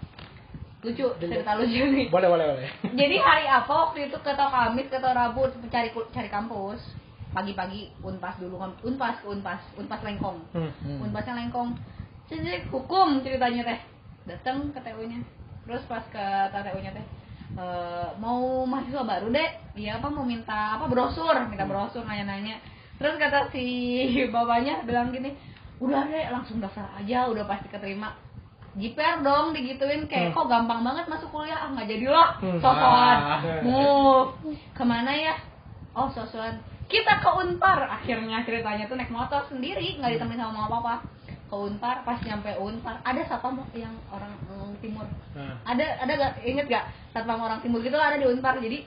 [SPEAKER 3] Lucu, cerita lucu nih.
[SPEAKER 1] Boleh boleh boleh.
[SPEAKER 3] Jadi hari apa waktu itu ketau Kamis, ketau Rabu cari kul- cari kampus. Pagi-pagi unpas dulu kan, unpas, unpas, unpas lengkong.
[SPEAKER 1] Hmm.
[SPEAKER 2] Hmm.
[SPEAKER 3] Unpasnya lengkong. Jadi hukum ceritanya teh. Datang ke TU-nya. Terus pas ke TU-nya teh eh, mau mahasiswa baru dek dia apa mau minta apa brosur minta brosur nanya-nanya terus kata si bapaknya bilang gini udah deh langsung daftar aja udah pasti keterima jiper dong digituin
[SPEAKER 1] Hmm.
[SPEAKER 3] kayak kok gampang banget masuk kuliah ah nggak jadi lah
[SPEAKER 1] Hmm.
[SPEAKER 3] sosokan
[SPEAKER 2] Ah.
[SPEAKER 3] move kemana ya oh sosokan kita ke Unpar akhirnya ceritanya tuh naik motor sendiri nggak ditemenin sama mama papa ke Unpar pas nyampe Unpar ada siapa mo- yang orang mm, timur
[SPEAKER 1] Nah.
[SPEAKER 3] ada ada gak inget gak satpam orang timur gitu ada di Unpar jadi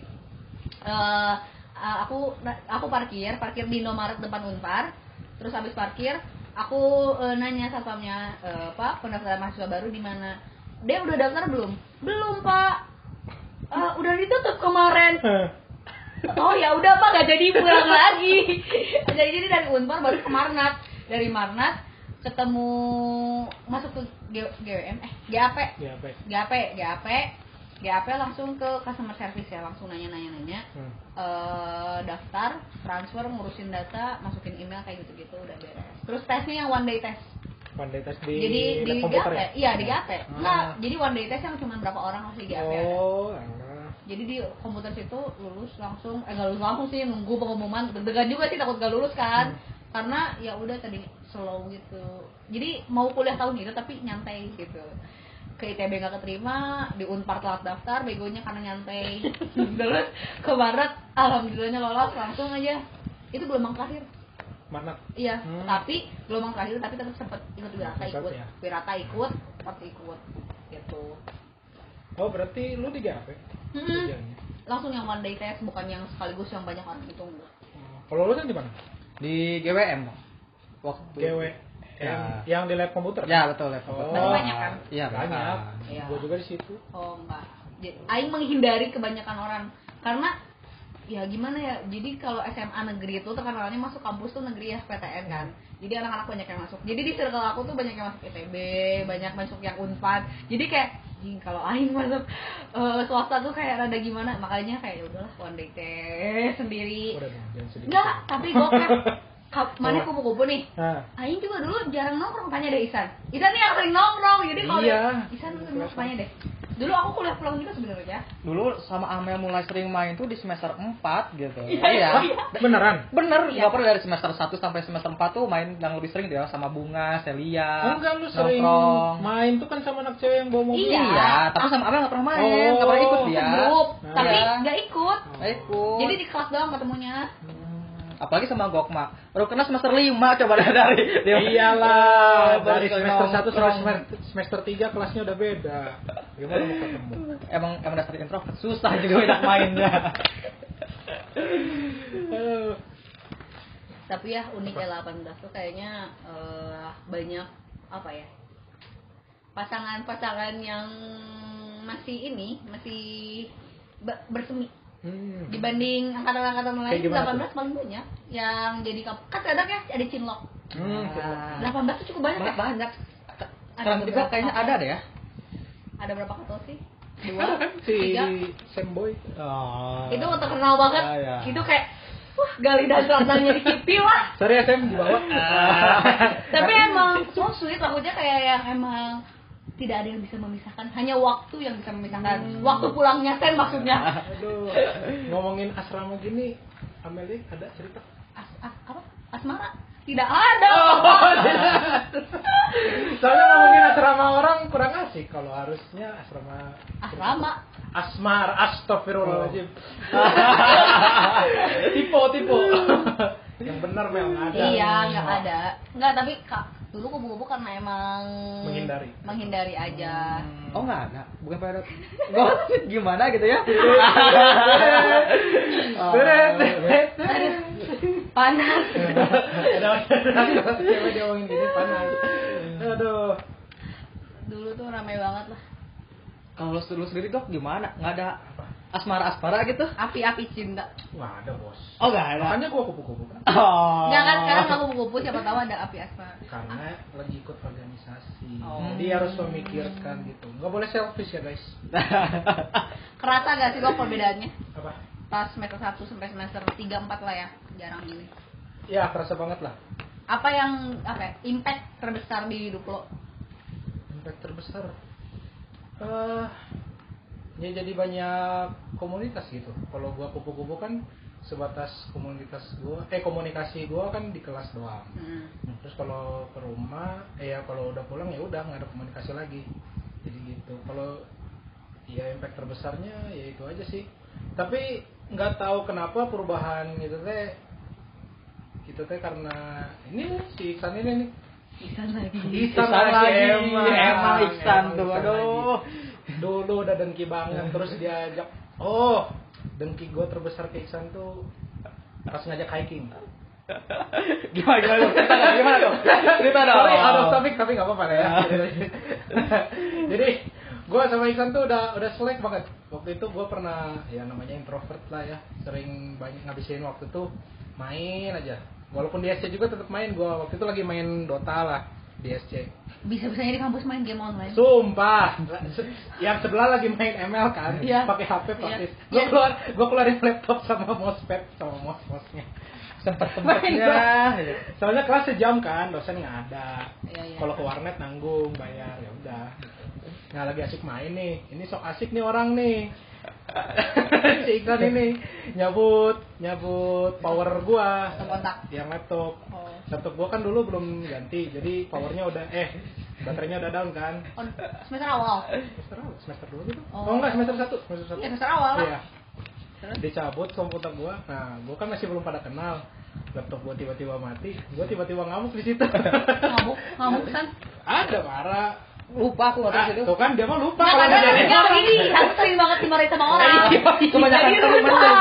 [SPEAKER 3] eh eh, aku aku parkir parkir di Indomaret depan Unpar terus habis parkir aku eh, nanya satpamnya eh, Pak pendaftaran mahasiswa baru di mana dia udah daftar belum belum Pak "Eh, udah ditutup kemarin
[SPEAKER 1] Eh,
[SPEAKER 3] Oh ya udah pak gak jadi pulang lagi. jadi jadi dari Unpar baru ke Marnat. Dari Marnat ketemu masuk ke G- GWM eh GAP.
[SPEAKER 1] Ya baik.
[SPEAKER 3] GAP, GAP, GAP langsung ke customer service ya, langsung nanya-nanya-nanya.
[SPEAKER 1] Hmm.
[SPEAKER 3] Eh, daftar, transfer, ngurusin data, masukin email kayak gitu-gitu udah beres. Terus tesnya yang one day test.
[SPEAKER 1] Pandai tes di
[SPEAKER 3] Jadi di
[SPEAKER 1] lab
[SPEAKER 3] GAP,
[SPEAKER 1] komputer ya?
[SPEAKER 3] iya di GAP. Enggak,
[SPEAKER 1] Ah.
[SPEAKER 3] jadi one day test yang cuma berapa orang masih di GAP. ada
[SPEAKER 1] Oh, alah.
[SPEAKER 3] jadi di
[SPEAKER 1] Hmm.
[SPEAKER 3] komputer situ lulus langsung eh nggak lulus langsung sih nunggu pengumuman deg-degan juga sih takut gak lulus kan karena ya udah tadi slow gitu jadi mau kuliah tahun itu tapi nyantai gitu ke ITB gak keterima di Unpar telat daftar begonya karena nyantai terus ke Barat alhamdulillahnya lolos langsung aja itu gelombang terakhir
[SPEAKER 1] Mana?
[SPEAKER 3] iya
[SPEAKER 1] Hmm.
[SPEAKER 3] tapi gelombang terakhir tapi tetap sempet ikut Wirata
[SPEAKER 1] Ikut
[SPEAKER 3] ikut
[SPEAKER 1] ya.
[SPEAKER 3] Wirata ikut Port ikut gitu
[SPEAKER 1] Oh berarti lu di GAP
[SPEAKER 3] Hmm. Mm-mm.
[SPEAKER 1] kerjanya.
[SPEAKER 3] langsung yang one day test bukan yang sekaligus yang banyak orang itu enggak
[SPEAKER 1] Oh, Kalau lu kan di mana?
[SPEAKER 2] di GWM waktu
[SPEAKER 1] GW
[SPEAKER 2] Ya.
[SPEAKER 1] yang di lab komputer.
[SPEAKER 2] ya betul level
[SPEAKER 1] Oh,
[SPEAKER 3] Tapi banyak kan?
[SPEAKER 2] Iya,
[SPEAKER 1] banyak.
[SPEAKER 2] banyak.
[SPEAKER 3] Iya.
[SPEAKER 1] Gua juga di situ.
[SPEAKER 3] Oh enggak. Jadi, Aing menghindari kebanyakan orang karena ya gimana ya. Jadi kalau SMA negeri itu terkenalnya masuk kampus tuh negeri ya PTN kan. Jadi anak-anak banyak yang masuk. Jadi di circle aku tuh banyak yang masuk ITB, banyak masuk yang Unpad. Jadi kayak "Ih, kalau Aing masuk eh, swasta tuh kayak rada gimana makanya kayak "Ya udahlah one day test sendiri
[SPEAKER 1] Udah dong, jangan sedih.
[SPEAKER 3] enggak tapi gue kan mana kupu-kupu nih
[SPEAKER 1] Nah,
[SPEAKER 3] Aing juga dulu jarang nongkrong, tanya deh Isan. Isan nih yang sering nongkrong, jadi kalau
[SPEAKER 1] Iya.
[SPEAKER 3] Isan tuh sering nongkrong, tanya deh. Dulu aku kuliah pulang juga sebenarnya.
[SPEAKER 2] dulu sama Amel mulai sering main tuh di semester 4 gitu
[SPEAKER 3] Iya, iya.
[SPEAKER 1] beneran?
[SPEAKER 2] bener
[SPEAKER 3] Iya.
[SPEAKER 2] nggak pernah dari semester 1 sampai semester 4 tuh main yang lebih sering dia sama Bunga, Celia,
[SPEAKER 1] Enggak lu sering
[SPEAKER 2] nongkrong.
[SPEAKER 1] main tuh kan sama anak cewek yang bawa mobil.
[SPEAKER 3] Iya.
[SPEAKER 2] Iya, tapi sama Amel nggak pernah main, nggak pernah ikut dia.
[SPEAKER 3] Grup,
[SPEAKER 1] Nah.
[SPEAKER 3] tapi
[SPEAKER 2] Iya.
[SPEAKER 3] nggak ikut.
[SPEAKER 2] Nggak ikut.
[SPEAKER 3] Jadi di kelas doang ketemunya.
[SPEAKER 2] Hmm, apalagi sama Gokma. Baru kena semester 5 coba dari dari.
[SPEAKER 1] Iyalah,
[SPEAKER 2] Baru
[SPEAKER 1] dari
[SPEAKER 2] ikut
[SPEAKER 1] semester 1 sampai
[SPEAKER 2] nongkrong.
[SPEAKER 1] semester, semester 3 kelasnya udah beda. Gimana mau ketemu?
[SPEAKER 2] Emang emang dasar introvert susah juga banyak mainnya.
[SPEAKER 1] Aduh.
[SPEAKER 3] Tapi ya unik ya 18 tuh kayaknya eh, banyak apa ya? Pasangan-pasangan yang masih ini, masih be- bersemi
[SPEAKER 1] Hmm.
[SPEAKER 3] dibanding angkatan-angkatan
[SPEAKER 1] Kayak
[SPEAKER 3] lain
[SPEAKER 1] gimana
[SPEAKER 3] 18 paling banyak yang jadi kap- kan kadang ya ada cinlok
[SPEAKER 1] Hmm,
[SPEAKER 2] Ah.
[SPEAKER 3] 18 tuh cukup banyak ya?
[SPEAKER 2] Banyak banyak. Sekarang juga
[SPEAKER 3] beberapa.
[SPEAKER 2] kayaknya ada deh ya.
[SPEAKER 3] ada berapa ketua sih?
[SPEAKER 1] Ada kan si
[SPEAKER 3] tiga.
[SPEAKER 1] Semboy.
[SPEAKER 2] Oh.
[SPEAKER 3] Itu terkenal banget.
[SPEAKER 1] Ya,
[SPEAKER 3] Gitu.
[SPEAKER 2] Ah, iya.
[SPEAKER 3] Itu kayak wah gali dan selatan jadi kipi lah.
[SPEAKER 1] Sorry ya Sem di bawah.
[SPEAKER 3] Tapi emang so sweet takutnya kayak yang emang tidak ada yang bisa memisahkan, hanya waktu yang bisa memisahkan. Waktu pulangnya Sen maksudnya.
[SPEAKER 1] Aduh, ngomongin asrama gini, Amelie ada cerita?
[SPEAKER 3] As, as- apa? Asmara? Tidak ada.
[SPEAKER 1] Oh. iya. Soalnya ngomongin asrama orang kurang asik kalau harusnya asrama
[SPEAKER 3] Asrama.
[SPEAKER 1] Asmar, astagfirullahaladzim. tipe, tipe. Yang benar memang ada.
[SPEAKER 3] Iya, nggak ada. Nggak, tapi kak, dulu kubu-kubu karena emang
[SPEAKER 1] Menghindari. Hmm.
[SPEAKER 3] menghindari aja.
[SPEAKER 2] Oh nggak ada, bukan pada Gua gimana gitu ya? Oh,
[SPEAKER 1] Seret, seret, seret.
[SPEAKER 3] Panas.
[SPEAKER 1] Ada ada cewek dia ngomongin gini panas. Aduh.
[SPEAKER 3] dulu tuh ramai banget lah
[SPEAKER 2] Kalau lu lu sendiri dok gimana? Nggak ada asmara asmara gitu?
[SPEAKER 3] api-api cinta
[SPEAKER 1] Wah, ada bos.
[SPEAKER 2] Oh nggak ada.
[SPEAKER 1] Makanya gua kupu-kupu kan.
[SPEAKER 2] Oh.
[SPEAKER 3] Enggak kan sekarang aku kupu-kupu siapa tahu ada api asmara
[SPEAKER 1] Karena lagi ikut organisasi.
[SPEAKER 3] Oh.
[SPEAKER 1] Jadi harus memikirkan gitu. Nggak boleh selfish ya guys.
[SPEAKER 3] kerasa gak sih kok perbedaannya
[SPEAKER 1] Apa?
[SPEAKER 3] pas semester 1 sampai semester 3 4 lah ya jarang ini
[SPEAKER 1] Ya, kerasa banget lah.
[SPEAKER 3] apa yang apa ya, impact terbesar di hidup lo
[SPEAKER 1] impact terbesar eh ya jadi banyak komunitas gitu kalau gua kupu-kupu kan sebatas komunitas gua eh komunikasi gua kan di kelas doang
[SPEAKER 3] Hmm.
[SPEAKER 1] terus kalau ke rumah eh ya kalau udah pulang ya udah nggak ada komunikasi lagi jadi gitu kalau ya impact terbesarnya ya itu aja sih tapi nggak tahu kenapa perubahan itu teh itu teh karena ini nih, si Iksan ini nih
[SPEAKER 3] Isan lagi
[SPEAKER 1] Iksan
[SPEAKER 2] Iksan lagi.
[SPEAKER 1] emang
[SPEAKER 2] Emang Iksan
[SPEAKER 1] Emang
[SPEAKER 2] tuh, aduh.
[SPEAKER 1] lagi. dulu udah dengki banget terus diajak oh dengki gue terbesar ke Iksan tuh pas ngajak hiking
[SPEAKER 2] gimana gimana dong? Cerita dong, Gimana dong? Cerita dong. Iya.
[SPEAKER 1] sorry out of topic tapi nggak apa-apa lah ya jadi gue sama Iksan tuh udah udah selek banget waktu itu gue pernah ya namanya introvert lah ya sering banyak ngabisin waktu tuh main aja walaupun di SC juga tetap main gue waktu itu lagi main Dota lah di SC
[SPEAKER 3] bisa-bisanya di kampus main game online
[SPEAKER 1] Sumpah, Se- yang sebelah lagi main ML kan,
[SPEAKER 3] Iya.
[SPEAKER 1] pakai HP praktis.
[SPEAKER 3] Iya.
[SPEAKER 1] Gue
[SPEAKER 3] Iya.
[SPEAKER 1] keluar, gue keluarin laptop sama mousepad sama mouse mouse-nya.
[SPEAKER 2] Sempet
[SPEAKER 1] Main
[SPEAKER 2] sempetnya.
[SPEAKER 1] dong. Ya, Soalnya kelas sejam kan, dosen nggak ada.
[SPEAKER 3] Iya, iya.
[SPEAKER 1] Kalau ke warnet nanggung bayar, ya udah. Nah lagi asik main nih, ini sok asik nih orang nih. si Iklan ini nyabut nyabut power gua
[SPEAKER 3] Laptop kontak.
[SPEAKER 1] yang laptop
[SPEAKER 3] oh
[SPEAKER 1] Laptop gua kan dulu belum ganti, jadi powernya udah eh baterainya udah down kan.
[SPEAKER 3] On semester awal.
[SPEAKER 1] Semester awal, semester dua gitu.
[SPEAKER 3] Oh.
[SPEAKER 1] Oh, enggak, semester satu, semester satu.
[SPEAKER 3] Iya, semester awal lah.
[SPEAKER 1] Iya. Dicabut komputer gua. Nah, gua kan masih belum pada kenal. Laptop gua tiba-tiba mati, gua tiba-tiba ngamuk di situ.
[SPEAKER 3] Ngamuk, ngamuk kan.
[SPEAKER 1] Ada marah.
[SPEAKER 2] Lupa aku
[SPEAKER 1] Ah,
[SPEAKER 2] waktu itu.
[SPEAKER 1] tuh kan dia mah lupa
[SPEAKER 3] Nah,
[SPEAKER 1] kalau
[SPEAKER 3] kadang
[SPEAKER 1] kejadian.
[SPEAKER 3] enggak gini, aku sering banget dimarahin sama
[SPEAKER 2] iya,
[SPEAKER 3] orang.
[SPEAKER 2] Kebanyakan
[SPEAKER 3] Jadi
[SPEAKER 2] temen
[SPEAKER 3] rumah.
[SPEAKER 2] juga.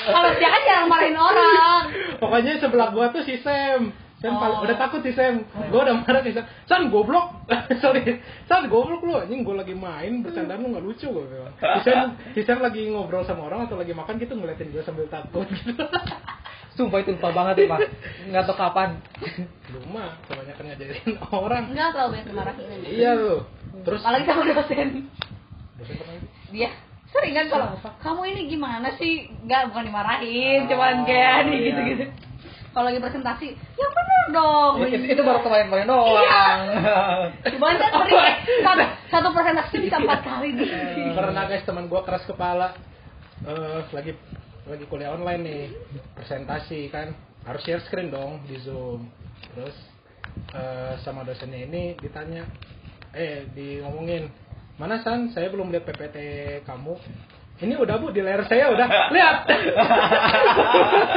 [SPEAKER 3] Kalau dia kan jarang marahin orang.
[SPEAKER 1] Pokoknya sebelah gua tuh si Sam. Sam
[SPEAKER 3] Oh. iya.
[SPEAKER 1] paling- udah takut si Sam. Gua udah marah si Sam. Sam goblok. Sorry. Sam goblok lu. Anjing gua lagi main bercandaan lu nggak lucu gua bilang. Si Sam, si Sam lagi ngobrol sama orang atau lagi makan gitu ngeliatin gua sambil takut gitu.
[SPEAKER 2] Sumpah itu lupa banget ya, Pak. Enggak tahu kapan.
[SPEAKER 1] Lu mah kebanyakan ngajarin orang.
[SPEAKER 3] Enggak terlalu banyak dimarahin.
[SPEAKER 1] Iya lu. Terus
[SPEAKER 3] Apalagi sama dosen.
[SPEAKER 1] dosen pernah gitu?
[SPEAKER 3] Dia sering kan kalau kamu ini gimana sih? Enggak bukan dimarahin, cuman kayak
[SPEAKER 2] Oh, iya.
[SPEAKER 3] gitu-gitu. Kalau lagi presentasi, ya bener dong. Iya.
[SPEAKER 2] Itu, itu baru kemarin-kemarin doang.
[SPEAKER 3] Cuman kan sering eh, satu, satu presentasi bisa empat kali nih.
[SPEAKER 1] Eh, pernah guys teman gua keras kepala eh lagi lagi kuliah online nih presentasi kan harus share screen dong di zoom terus eh, sama dosennya ini ditanya eh di ngomongin mana san saya belum lihat ppt kamu ini udah bu di layar saya udah lihat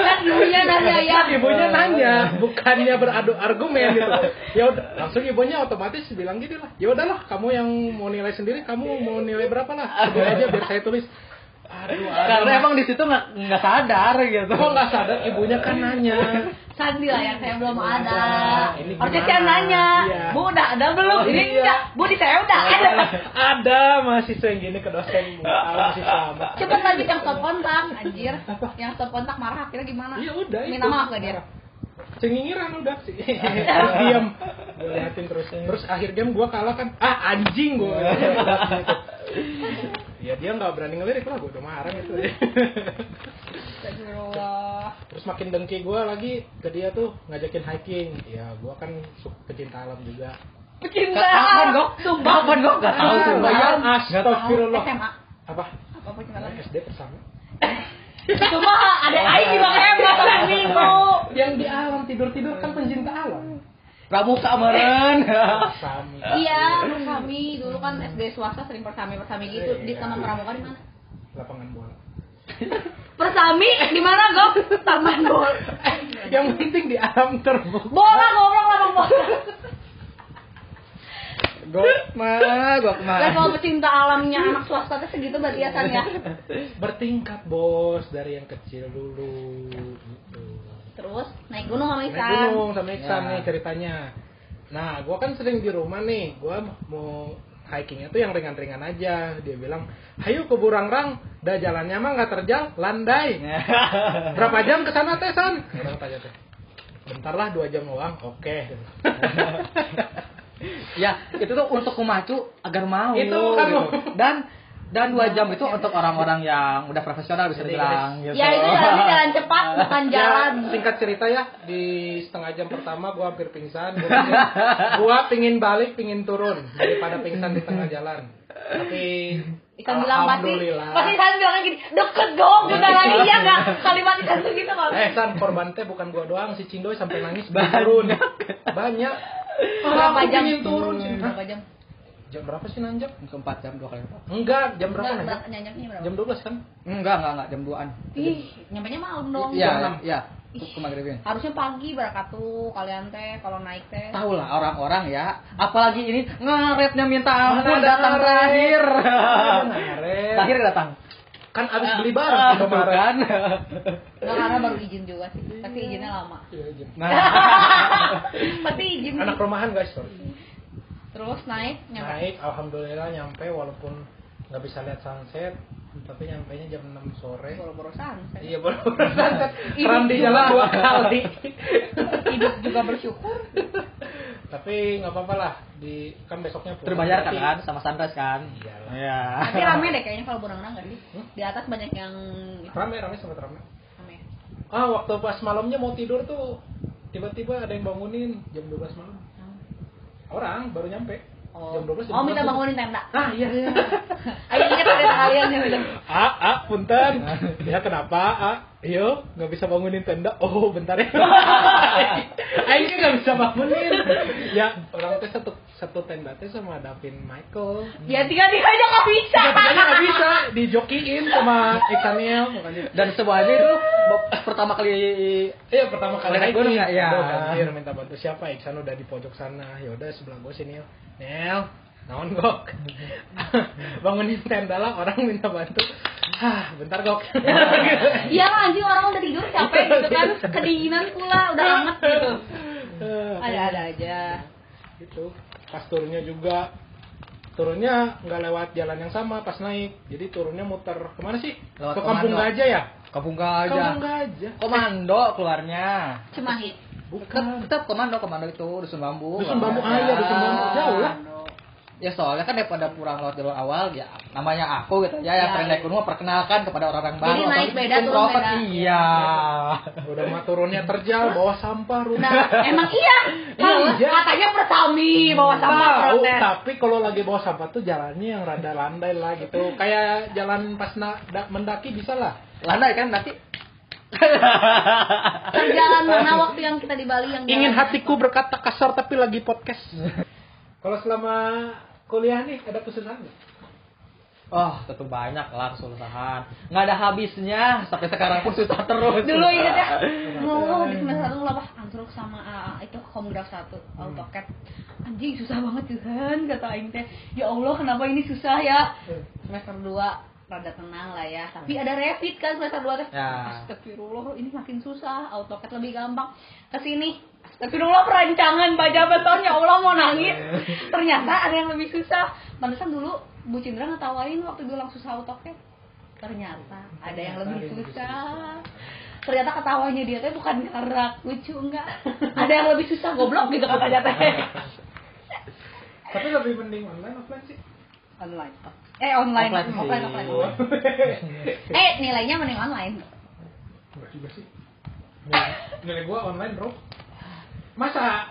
[SPEAKER 3] Kan ibunya nanya ya.
[SPEAKER 1] Iya, Kan ibunya nanya bukannya beradu argumen gitu ya udah langsung ibunya otomatis bilang gini lah ya udahlah kamu yang mau nilai sendiri kamu mau nilai berapa lah sebut aja biar saya tulis aduh
[SPEAKER 2] Karena
[SPEAKER 1] aduh.
[SPEAKER 2] emang di situ nggak nggak sadar gitu.
[SPEAKER 1] kok nggak sadar ibunya kan nanya
[SPEAKER 3] Sandi lah ya, saya belum ada.
[SPEAKER 1] Iya, Ini gimana?
[SPEAKER 3] Harusnya saya nanya,
[SPEAKER 1] Iya.
[SPEAKER 3] Bu udah ada belum?
[SPEAKER 1] Oh,
[SPEAKER 3] Ini
[SPEAKER 1] iya. Oh,
[SPEAKER 3] enggak, Bu di saya udah ada.
[SPEAKER 1] ada mahasiswa yang gini ke dosen Bu. Ah, masih sama
[SPEAKER 3] Cepet lanjut yang stop kontak, anjir. Yang stop kontak marah akhirnya gimana?
[SPEAKER 1] ya udah
[SPEAKER 3] Minta maaf gak dia?
[SPEAKER 1] cengingiran udah sih terus diam Gua liatin terus terus akhir game gua kalah kan ah anjing gua ya dia nggak berani ngelirik lah gua udah marah gitu
[SPEAKER 3] Astagfirullah.
[SPEAKER 1] terus makin dengki gua lagi ke dia tuh ngajakin hiking ya gua kan su- pecinta alam juga
[SPEAKER 3] Pecinta.
[SPEAKER 2] Kapan dok? Sumpah kapan dok? Gak tahu
[SPEAKER 1] Ah,
[SPEAKER 2] sumpah.
[SPEAKER 1] bayar.
[SPEAKER 2] Nggak tahu.
[SPEAKER 1] astagfirullah
[SPEAKER 3] SMA.
[SPEAKER 1] apa
[SPEAKER 3] Apa pecinta lagi?
[SPEAKER 1] SD bersama
[SPEAKER 3] Itu mah ah, ada
[SPEAKER 1] Oh, iya.
[SPEAKER 3] aing di bang hebat tadi, Bu.
[SPEAKER 1] yang di alam tidur tidur kan pencinta alam
[SPEAKER 2] Pramuka meren.
[SPEAKER 1] bersama
[SPEAKER 3] Iya, persami dulu kan SD swasta sering persami persami gitu di taman pramuka di mana?
[SPEAKER 1] lapangan bola
[SPEAKER 3] Persami di mana, Gop? Taman bola.
[SPEAKER 1] yang penting di alam terbuka
[SPEAKER 3] Bola goblok lah Bang bola.
[SPEAKER 2] Gokma, gokma.
[SPEAKER 3] Level pecinta alamnya anak swasta tuh segitu berarti ya San ya.
[SPEAKER 1] bertingkat bos dari yang kecil dulu gitu.
[SPEAKER 3] Terus naik gunung sama
[SPEAKER 1] naik
[SPEAKER 3] Isan.
[SPEAKER 1] gunung sama Iksan
[SPEAKER 2] Ya.
[SPEAKER 1] nih ceritanya nah gua kan sering di rumah nih gua mau hikingnya tuh yang ringan-ringan aja dia bilang ayo ke Burangrang dah jalannya mah nggak terjal
[SPEAKER 2] Ya.
[SPEAKER 1] landai berapa jam ke sana teh san orang tanya teh bentar lah dua jam doang oke
[SPEAKER 2] ya itu tuh untuk memacu agar mau
[SPEAKER 1] Itu kan
[SPEAKER 2] gitu.
[SPEAKER 1] mau.
[SPEAKER 2] dan dan dua jam itu untuk orang-orang yang udah profesional bisa
[SPEAKER 1] Jadi,
[SPEAKER 2] dibilang gitu.
[SPEAKER 3] Ya itu jalannya jalan cepat bukan jalan.
[SPEAKER 1] Ya, singkat cerita ya di setengah jam pertama gua hampir pingsan gua pingin, gua pingin balik pingin turun daripada pingsan di tengah jalan tapi
[SPEAKER 3] Isan bilang pasti
[SPEAKER 1] alhamdulillah
[SPEAKER 3] pasti Isan bilang gini, deket dong bentar lagi ya enggak? Kalimat Isan tuh gitu Bang.
[SPEAKER 1] eh san korban teh bukan gua doang si Cindo sampai nangis belum turun banyak
[SPEAKER 3] Berapa
[SPEAKER 1] Aku
[SPEAKER 3] jam?
[SPEAKER 1] pingin turun sih. Hah?
[SPEAKER 3] Berapa jam?
[SPEAKER 1] jam berapa sih nanjak
[SPEAKER 2] Mungkin empat jam dua kali lipat.
[SPEAKER 1] enggak jam berapa
[SPEAKER 3] Nggak,
[SPEAKER 1] nanjak
[SPEAKER 3] nggak, Nyanyinya berapa?
[SPEAKER 1] jam 12 kan
[SPEAKER 2] Enggak, enggak, enggak, jam 2-an.
[SPEAKER 3] Ih, nyampainya malam dong.
[SPEAKER 2] Iya,
[SPEAKER 1] enam.
[SPEAKER 2] iya. Ke maghribin.
[SPEAKER 3] Harusnya pagi berangkat tuh kalian teh kalau naik teh.
[SPEAKER 2] Tahu lah orang-orang ya, apalagi ini ngaretnya minta ampun
[SPEAKER 1] Mana ada
[SPEAKER 2] datang
[SPEAKER 1] ngaret?
[SPEAKER 2] terakhir.
[SPEAKER 1] Kan Ngaret.
[SPEAKER 2] Terakhir datang.
[SPEAKER 1] kan abis beli
[SPEAKER 2] Ah,
[SPEAKER 1] barang kemarin
[SPEAKER 2] kan.
[SPEAKER 3] Enggak karena baru izin juga sih, tapi izinnya lama.
[SPEAKER 1] Iya, jam.
[SPEAKER 2] Nah,
[SPEAKER 3] Tapi izin
[SPEAKER 1] anak rumahan guys sorry
[SPEAKER 3] terus naik nyampe
[SPEAKER 1] naik alhamdulillah nyampe walaupun nggak bisa lihat sunset tapi nyampe nya jam 6 sore
[SPEAKER 3] boro-boro sunset.
[SPEAKER 1] iya baru sunset
[SPEAKER 3] Ini
[SPEAKER 1] Ram di
[SPEAKER 3] juga.
[SPEAKER 1] jalan dua kali
[SPEAKER 3] hidup juga bersyukur
[SPEAKER 1] tapi nggak apa-apa lah di kan besoknya pulang.
[SPEAKER 2] terbayarkan
[SPEAKER 1] Tapi-
[SPEAKER 2] kan sama sunrise kan?
[SPEAKER 1] Iyalah.
[SPEAKER 2] Iya.
[SPEAKER 3] tapi rame deh kayaknya kalau burang-burang nggak sih
[SPEAKER 1] Hmm?
[SPEAKER 3] di atas banyak yang itu
[SPEAKER 1] rame rame sempat rame
[SPEAKER 3] rame
[SPEAKER 1] ah waktu pas malamnya mau tidur tuh tiba-tiba ada yang bangunin jam 12 malam orang baru nyampe
[SPEAKER 3] Oh,
[SPEAKER 1] Jam 12, jam
[SPEAKER 3] oh
[SPEAKER 1] 12.
[SPEAKER 3] minta bangunin tenda.
[SPEAKER 1] Ah iya iya.
[SPEAKER 3] Ayo ingat ada kalian ya bilang.
[SPEAKER 1] A, A, punten. Ya kenapa A? Yo, nggak bisa bangunin tenda. Oh, bentar ya. Aing nggak bisa bangunin. Ya, orang teh satu satu tenda teh sama Davin Michael.
[SPEAKER 3] Ya tiga tiga aja nggak bisa.
[SPEAKER 1] Katanya nggak bisa dijokiin sama Iksaniel makanya.
[SPEAKER 2] Dan semuanya itu bab- pertama kali
[SPEAKER 1] Iya pertama kali
[SPEAKER 2] Lihat gunung nggak? Iya.
[SPEAKER 1] Aduh, anjir, kan. minta bantu siapa? Iksan udah di pojok sana. Ya udah sebelah gue sini. Nel. Nel, naon gok. Bangunin tenda lah orang minta bantu. Hah, bentar gok.
[SPEAKER 3] Iya lah anjing orang udah tidur capek gitu kan.
[SPEAKER 1] Iya,
[SPEAKER 3] Kedinginan pula udah anget gitu.
[SPEAKER 1] Eh,
[SPEAKER 3] Ada-ada aja.
[SPEAKER 1] gitu. Pas turunnya juga turunnya nggak lewat jalan yang sama pas naik. Jadi turunnya muter kemana sih? Ke
[SPEAKER 2] Lewat
[SPEAKER 1] kampung
[SPEAKER 2] Komando.
[SPEAKER 1] Gajah ya?
[SPEAKER 2] kampung
[SPEAKER 1] Kampung
[SPEAKER 2] gajah.
[SPEAKER 1] Gajah.
[SPEAKER 2] Komando keluarnya.
[SPEAKER 3] Cimahi.
[SPEAKER 1] Bukan.
[SPEAKER 2] Tetap, tetap komando komando itu dusun bambu.
[SPEAKER 1] Dusun Bambu,
[SPEAKER 2] Nggak ada.
[SPEAKER 1] ah, iya, Dusun Bambu. Jauh lah.
[SPEAKER 2] Ya soalnya kan daripada kurang lewat jalur awal ya namanya aku gitu ya yang
[SPEAKER 3] Ya,
[SPEAKER 2] pernah
[SPEAKER 3] iya.
[SPEAKER 2] naik gunung perkenalkan kepada orang-orang baru.
[SPEAKER 3] Jadi naik
[SPEAKER 2] Apalagi
[SPEAKER 3] beda,
[SPEAKER 2] bikin
[SPEAKER 3] turun
[SPEAKER 2] profit.
[SPEAKER 3] beda.
[SPEAKER 2] Iya.
[SPEAKER 1] Udah mah turunnya terjal, bawa sampah, rumah.
[SPEAKER 3] Nah, emang iya. Kalau
[SPEAKER 1] Iya.
[SPEAKER 3] katanya persami bawa sampah
[SPEAKER 1] Tahu,
[SPEAKER 3] protes.
[SPEAKER 1] Oh, tapi kalau lagi bawa sampah tuh jalannya yang rada landai lah gitu. Kayak jalan pas na- da- mendaki bisa lah.
[SPEAKER 2] Landai kan nanti
[SPEAKER 3] Perjalanan mana waktu yang kita di Bali yang
[SPEAKER 1] Ingin
[SPEAKER 3] jalan-
[SPEAKER 1] hatiku berkata kasar tapi lagi podcast. kalau selama kuliah nih ada kesusahan nggak?
[SPEAKER 2] Oh, tentu banyak lah kesusahan. Nggak ada habisnya sampai sekarang pun susah terus.
[SPEAKER 3] dulu inget ya dulu di semester satu lah antruk sama ah, itu komgraf satu AutoCAD anjing susah banget Tuhan kata Aing teh ya Allah kenapa ini susah ya semester dua rada tenang lah ya tapi ada rapid kan semester dua teh
[SPEAKER 2] Ya.
[SPEAKER 3] astagfirullah ini makin susah AutoCAD lebih gampang kesini astagfirullah perancangan baja beton ya Allah mau nangis ternyata ada yang lebih susah Pantesan dulu Bu Cindra ngetawain waktu bilang susah AutoCAD ternyata ada yang lebih susah ternyata ketawanya dia teh bukan karena lucu enggak ada yang lebih susah goblok gitu katanya teh
[SPEAKER 1] Tapi lebih mending online offline sih.
[SPEAKER 3] online eh online
[SPEAKER 2] Offline sih.
[SPEAKER 3] offline offline, offline. eh nilainya mending online
[SPEAKER 1] Enggak juga sih. Nilai- Nilai gua online, Bro. Masa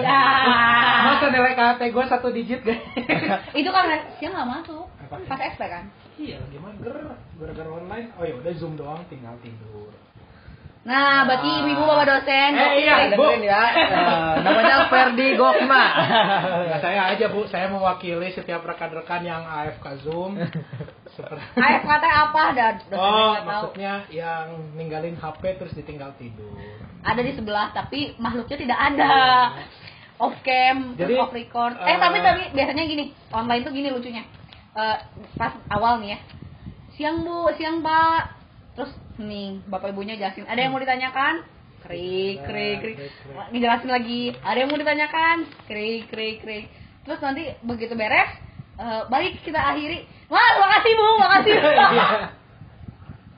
[SPEAKER 3] ya.
[SPEAKER 2] Ah.
[SPEAKER 1] Masa nilai KT gua satu digit, guys.
[SPEAKER 3] itu karena dia nggak masuk
[SPEAKER 1] Apa?
[SPEAKER 3] pas SP kan
[SPEAKER 1] iya, lagi mager gara-gara online. Oh ya udah Zoom doang tinggal tidur.
[SPEAKER 3] nah berarti
[SPEAKER 2] Ah.
[SPEAKER 3] ibu bapak dosen
[SPEAKER 1] Eh, iya.
[SPEAKER 2] Nah, dengerin ya. Eh, namanya Ferdi Gokma.
[SPEAKER 1] Ya, saya aja bu, saya mewakili setiap rekan-rekan yang AFK Zoom. Seperti-
[SPEAKER 3] AFKT apa ada
[SPEAKER 1] oh,
[SPEAKER 3] dosen nggak tahu
[SPEAKER 1] maksudnya yang ninggalin HP terus ditinggal tidur.
[SPEAKER 3] ada di sebelah tapi makhluknya tidak ada off cam
[SPEAKER 1] Jadi,
[SPEAKER 3] off record eh
[SPEAKER 1] eh,
[SPEAKER 3] tapi tapi biasanya gini online tuh gini lucunya Eh, pas awal nih ya siang bu siang pak terus nih bapak ibunya jelasin ada yang mau ditanyakan krik krik krik Wah, dijelasin lagi ada yang mau ditanyakan krik krik krik terus nanti begitu beres eh, balik kita akhiri wah makasih bu makasih
[SPEAKER 1] Iya.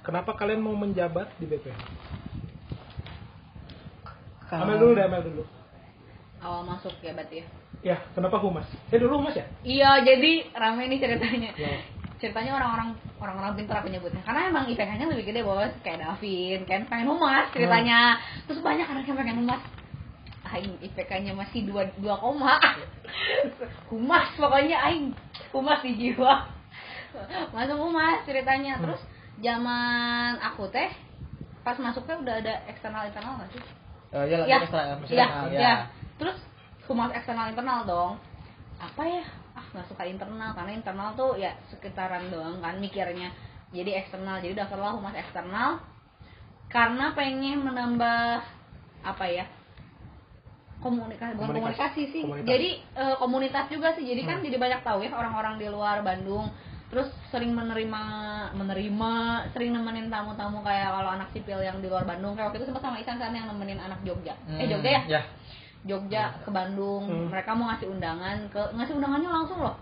[SPEAKER 1] Kenapa kalian mau menjabat di BP? Amel dulu deh, Amel dulu.
[SPEAKER 3] awal masuk ya berarti ya
[SPEAKER 1] Ya, kenapa humas? Eh dulu humas ya?
[SPEAKER 3] Iya, jadi rame nih ceritanya.
[SPEAKER 1] Ya.
[SPEAKER 3] Ceritanya orang-orang orang-orang pintar aku nyebutnya. Karena emang IPK-nya lebih gede bos, kayak Davin, kan pengen humas ceritanya. Terus banyak anak yang pengen humas. Aing IPK-nya masih 2 2 koma. humas pokoknya aing humas di jiwa. Masuk humas ceritanya. Terus zaman aku teh pas masuknya udah ada eksternal internal nggak sih?
[SPEAKER 2] Eh, ya,
[SPEAKER 3] ya,
[SPEAKER 2] ya,
[SPEAKER 3] ya, ya. Terus humas eksternal internal dong. Apa ya? Ah nggak suka internal karena internal tuh ya sekitaran doang kan mikirnya. Jadi eksternal. Jadi daftarlah humas eksternal karena pengen menambah apa ya? komunikasi bukan
[SPEAKER 1] Komunitas.
[SPEAKER 3] komunikasi sih
[SPEAKER 1] Komunitas.
[SPEAKER 3] jadi eh, komunitas juga sih jadi kan jadi banyak tahu ya orang-orang di luar Bandung terus sering menerima menerima sering nemenin tamu-tamu kayak kalau anak sipil yang di luar Bandung kayak waktu itu sempat sama Isan kan yang nemenin anak Jogja eh Jogja ya
[SPEAKER 2] Ya.
[SPEAKER 3] Jogja ke Bandung
[SPEAKER 1] Hmm.
[SPEAKER 3] mereka mau ngasih undangan ke ngasih undangannya langsung loh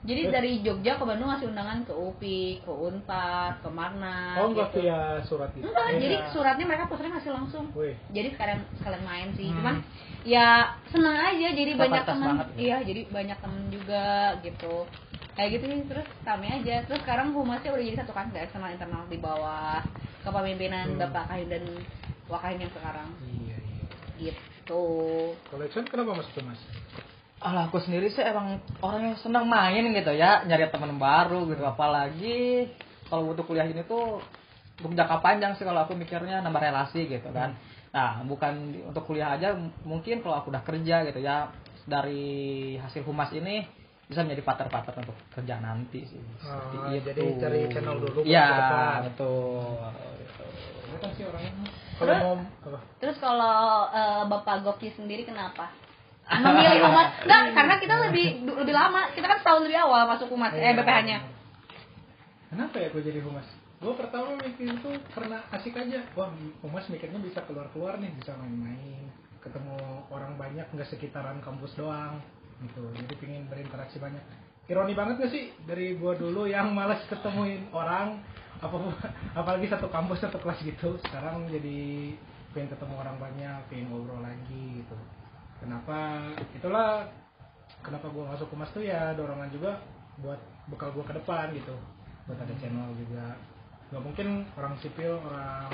[SPEAKER 3] jadi dari Jogja ke Bandung ngasih undangan ke UPI ke Unpad ke Marna
[SPEAKER 1] Oh enggak
[SPEAKER 3] gitu.
[SPEAKER 1] via surat gitu.
[SPEAKER 3] Enggak,
[SPEAKER 1] Eh,
[SPEAKER 3] jadi
[SPEAKER 1] ya.
[SPEAKER 3] suratnya mereka posternya ngasih langsung
[SPEAKER 1] Wih.
[SPEAKER 3] jadi sekalian sekalian main sih
[SPEAKER 2] Hmm.
[SPEAKER 3] cuman ya seneng aja jadi banyak
[SPEAKER 2] Komunitas
[SPEAKER 3] teman
[SPEAKER 2] banget ya.
[SPEAKER 3] iya jadi banyak teman juga gitu kayak gitu sih terus kami aja terus sekarang humasnya udah jadi satu kan dari eksternal internal di bawah kepemimpinan
[SPEAKER 1] Hmm.
[SPEAKER 3] bapak kahin dan wakahin yang sekarang
[SPEAKER 1] Iya, iya.
[SPEAKER 3] gitu
[SPEAKER 1] Kalau Iksan kenapa masuk humas?
[SPEAKER 2] Alah, Ah, aku sendiri sih emang orang yang senang main gitu ya, nyari teman baru gitu. Apalagi kalau butuh kuliah ini tuh untuk jangka panjang sih kalau aku mikirnya nambah relasi gitu kan. Nah, bukan di- untuk kuliah aja, m- mungkin kalau aku udah kerja gitu ya, dari hasil humas ini bisa menjadi partner-partner untuk kerja nanti sih. Seperti
[SPEAKER 1] Oh,
[SPEAKER 2] itu.
[SPEAKER 1] jadi cari channel dulu buat
[SPEAKER 2] Iya,
[SPEAKER 1] ke depan.
[SPEAKER 2] betul.
[SPEAKER 1] Apa sih orangnya? Kalau
[SPEAKER 3] Terus?
[SPEAKER 1] mau apa?
[SPEAKER 3] Terus kalau eh, Bapak Goki sendiri kenapa? Memilih umat? Enggak,
[SPEAKER 2] Iya.
[SPEAKER 3] karena kita lebih du- lebih lama. Kita kan setahun lebih awal masuk umat,
[SPEAKER 2] Iya.
[SPEAKER 3] eh BPH-nya.
[SPEAKER 1] Iya. Kenapa ya gue jadi humas? Gue pertama mikir itu karena asik aja. Wah, humas mikirnya bisa keluar-keluar nih, bisa main-main, ketemu orang banyak nggak sekitaran kampus doang gitu. Jadi pingin berinteraksi banyak. Ironi banget gak sih dari gue dulu yang malas ketemuin orang, apa apalagi satu kampus satu kelas gitu. Sekarang jadi pengen ketemu orang banyak, pengen ngobrol lagi gitu. Kenapa? Itulah kenapa gue masuk humas tuh ya dorongan juga buat bekal gue ke depan gitu buat ada channel juga nggak mungkin orang sipil orang